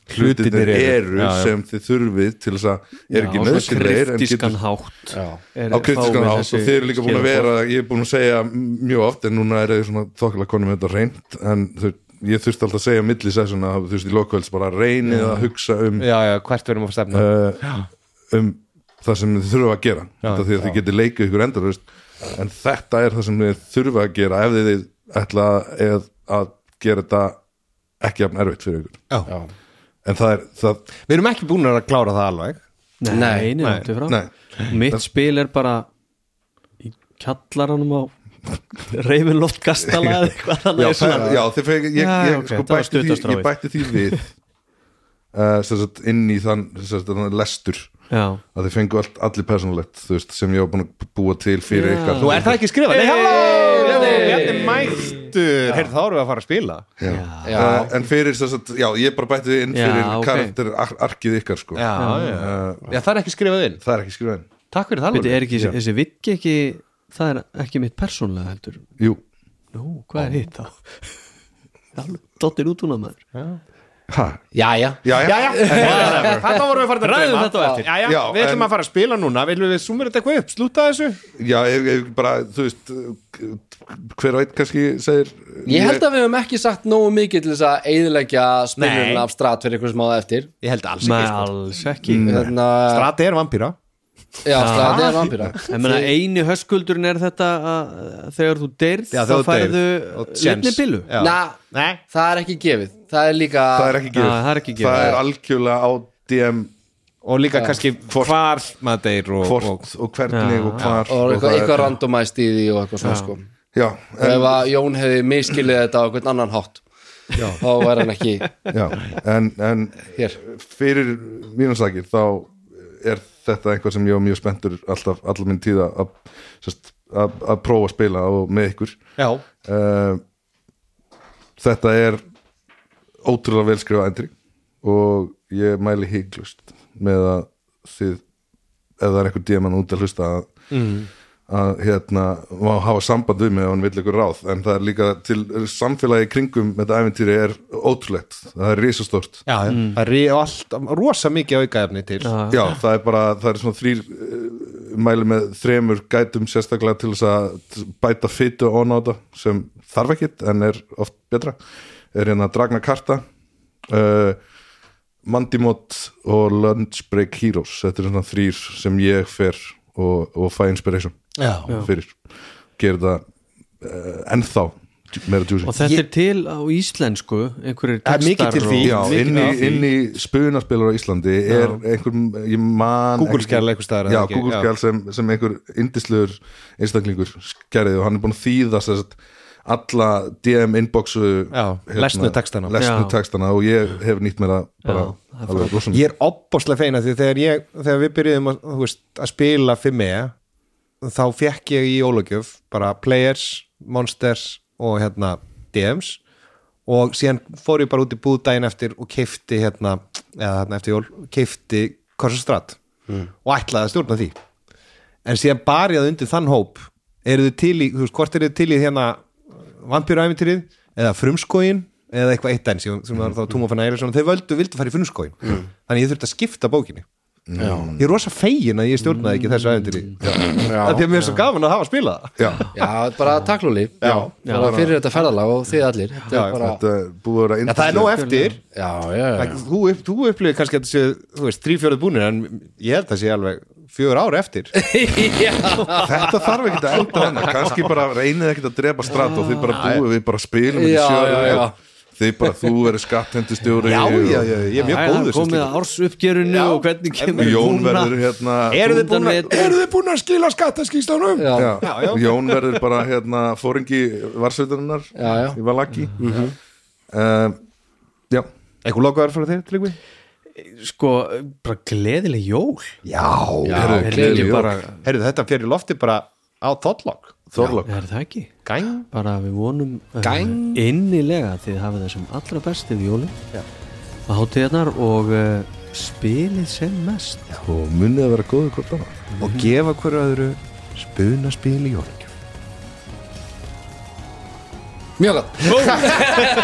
hlutinir
Hlutirnir eru.
eru
Já, já.
sem þið þurfið til þess að er
Já,
ekki
á svona
nöðsynleir en getur
kryptískan hátt er-
á kritiskan
fáum við
hátt
þessi
og þið eru líka búin að
skilaboð.
vera ég er búin að segja mjög oft en núna er þið svona þokkilega konum þetta reynd en þú, ég þurfti alltaf að segja milli sessuna þú veist í lokvölds bara reynið að hugsa um,
já, já, hvert verðum að stefna
uh, um það sem þið þurfa að gera þetta því að þið getið leikið ykkur endur en þetta er það sem þið þurfa að gera ef þið ætla að, að gera þetta ekki jafn erfitt fyrir ykkur
Já.
en það er það,
við erum ekki búin að klára það alveg
Nei, nei, nei, nei,
nei,
Mitt spil er bara í kjallaranum á Ravenloft kastala eða eitthvað
já,
þannig er svona
það- já, þið fekir, ég,
Já,
ég,
ok,
sko,
það var
bætti því,
stuttastráið.
ég bætti því við (laughs) uh, sem sagt, inn í þann, sem sagt, þann lestur
Já,
að þið fengu allt, allir persónulegt þú veist, sem ég var búin að búa til fyrir
Já.
ykkar
Nú er það ekki skrifað Nei, halló Bjarni mættur Heyrðu, þá erum við að fara að spila
já.
Já.
Uh, en fyrir, sem sagt, já, ég bara bætti því inn
Já,
fyrir
ok.
karakter ar arkið ykkar sko.
já, já. já það er ekki skrifað inn
það er ekki skrifin
Takk fyrir það
beti, er ekki
Já.
þessi viggi ekki það er ekki mitt persónlega heldur
jú,
Nú, hvað er hitt þá? Dottir út hún að maður
ha,
Jæja,
já, já, já,
Þetta vorum við farin að
Ræðum
dreyma.
þetta á eftir.
já, já,
Já,
Við ætlum
en-
að fara að spila núna Viljum við sumir þetta eitthvað upp Slúta þessu
ef, ef bara, þú veist hver og einn kannski segir
ég held að við höfum ekki sagt nógu mikið til þess að eiðilegja
Nei.
spilurinn af strat fyrir einhvers máða eftir
Ég held alls
Nei,
ekki sko. Mm.
alls ekki
Þannig að,
Strati er vampýra
já, strat er vampíra
Ég meina, eini höskuldurinn er þetta að þegar þú deyrð
Já, þegar
þá
þú
færðu
deyrð og tjens.
litnibilu
Já.
Na,
Nei
það er ekki gefið það er líka
það er ekki
Já,
gefið
það er ekki gefið.
það er algjörlega á DM
Og líka kannski hvar maður deyr og,
hvort
og,
og hvernig og hvar
og eitthvað,
það
eitthvað
er-
randomæst í því og eitthvað svona sko
já,
og
en,
ef að Jón hefði miskilið þetta á einhvern annan hátt þá er hann ekki
já, en, en
hér
fyrir mínumsakir þá er þetta einhvað sem ég var mjög spenntur alltaf, allar minn tíða að, sest, að, að prófa að spila og með ykkur
Já
uh, þetta er ótrúlega velskrifa endri og ég mæli hygglust með að þið ef það er einhver díman út að hlusta að, að hérna má hafa samband við mig ef hann vill ykkur ráð en það er líka til samfélagi í kringum þetta æfintýri er ótrúlegt það er risastórt
Já, já. það er rí- og allt, rosa mikið aukaefni til
Já, það er bara, það er svona þrýr eh, mæli með þremur gætum sérstaklega til þess að bæta fytu og náta sem þarf ekkit en er oft betra er hérna Dragna Karta uh, Mandimot og Lunch Break Heroes þetta er svona þrýr sem ég fer og, og fæ inspiration
Já.
fyrir gerir það uh, ennþá meira djúsi
og þetta er til á íslensku einhverjir
Það er mikið
textar
til
og-
því.
Já,
mikið
inn í,
af því.
inn í spunaspilar á Íslandi er einhver, ég man
Google-skjal
ekki-
einhvers staðar,
Já,
eða ekki?
Google-skjal sem, sem einhver indisluður einstaklingur skerði og hann er búin að þýða sem sagt, alla DM inboxu hérna,
Já, lesnu textana.
lesnu
Já.
textana og ég hef nýtt mér það bara
Já, það er
alveg rosan
Ég er opbáslega feina því þegar, ég, þegar við byrjuðum að, þú veist, að spila fyrir mig þá fekk ég í jólagjöf bara players, monsters og hérna DMs og síðan fór ég bara út í búð daginn eftir og keifti hérna eða hérna eftir jól, keifti Korsastrat og ætlaði að stjórna því en síðan bar ég það undir þann hóp eru þið til í, þú veist, hvort eru þið til í hérna vampýruæmintýrið eða frumskóin eða eitthvað eitt enn sem sem var þá Tóma fann æri þau völdu, vildu fara í frumskóin þannig ég þurfti að skipta bókinni ég er rosa fegin að ég stjórnaði ekki þessu æmintýri (laughs) af því að mér er svo gaman að hafa að spila það
Já,
Já, bara takk Lúli Já, bara fyrir þetta ferðalag og þið allir Þetta
Já,
er bara,
þetta er búið að vera
Já, það er nóg eftir,
já, já, já
þú, upp, þú upplifir kannski að þessi, þú veist, þrýfjörðu búnir en ég held að sé alveg fjögur ár eftir
Þetta þarf ekkert að elda hana kannski bara reynið ekkert að drepa strat og þið bara búið, við bara spilum þetta
Já,
sjálf
já, já.
og Þið bara, þú verður skatthentustjóri
Já,
og-
já, já, ég er mjög
Jæja, það
góður
er
sem
komið
slíkur.
að ársuppgjörinu og hvernig kemur
Jón
Húna.
verður hérna
Eru þið búin að-
Undanmetin.
eru þið búin að skila skattaskýslanum?
Já.
já. Jón verður bara hérna fóringi varsveiturinnar
Já, já.
í Valaki mm -hmm. já,
Eitthvað lokaður frá þér, Tryggvi?
sko, bara gleðileg jól
Já,
Já,
heyrðu,
gleðileg
gleðileg
jól.
jól.
Heyrðu, þetta fyrir lofti bara á þottlokk
Þorlák
er það ekki?
Gæn
bara við vonum uh,
Gæng.
innilega að þið hafið það sem allra best yfir jólum að hátíðarnar og uh, spilið sem mest
og munið að vera góður hvort annað
Og gefa hverju öðru spunaspil í jólingjöf
Mjög gott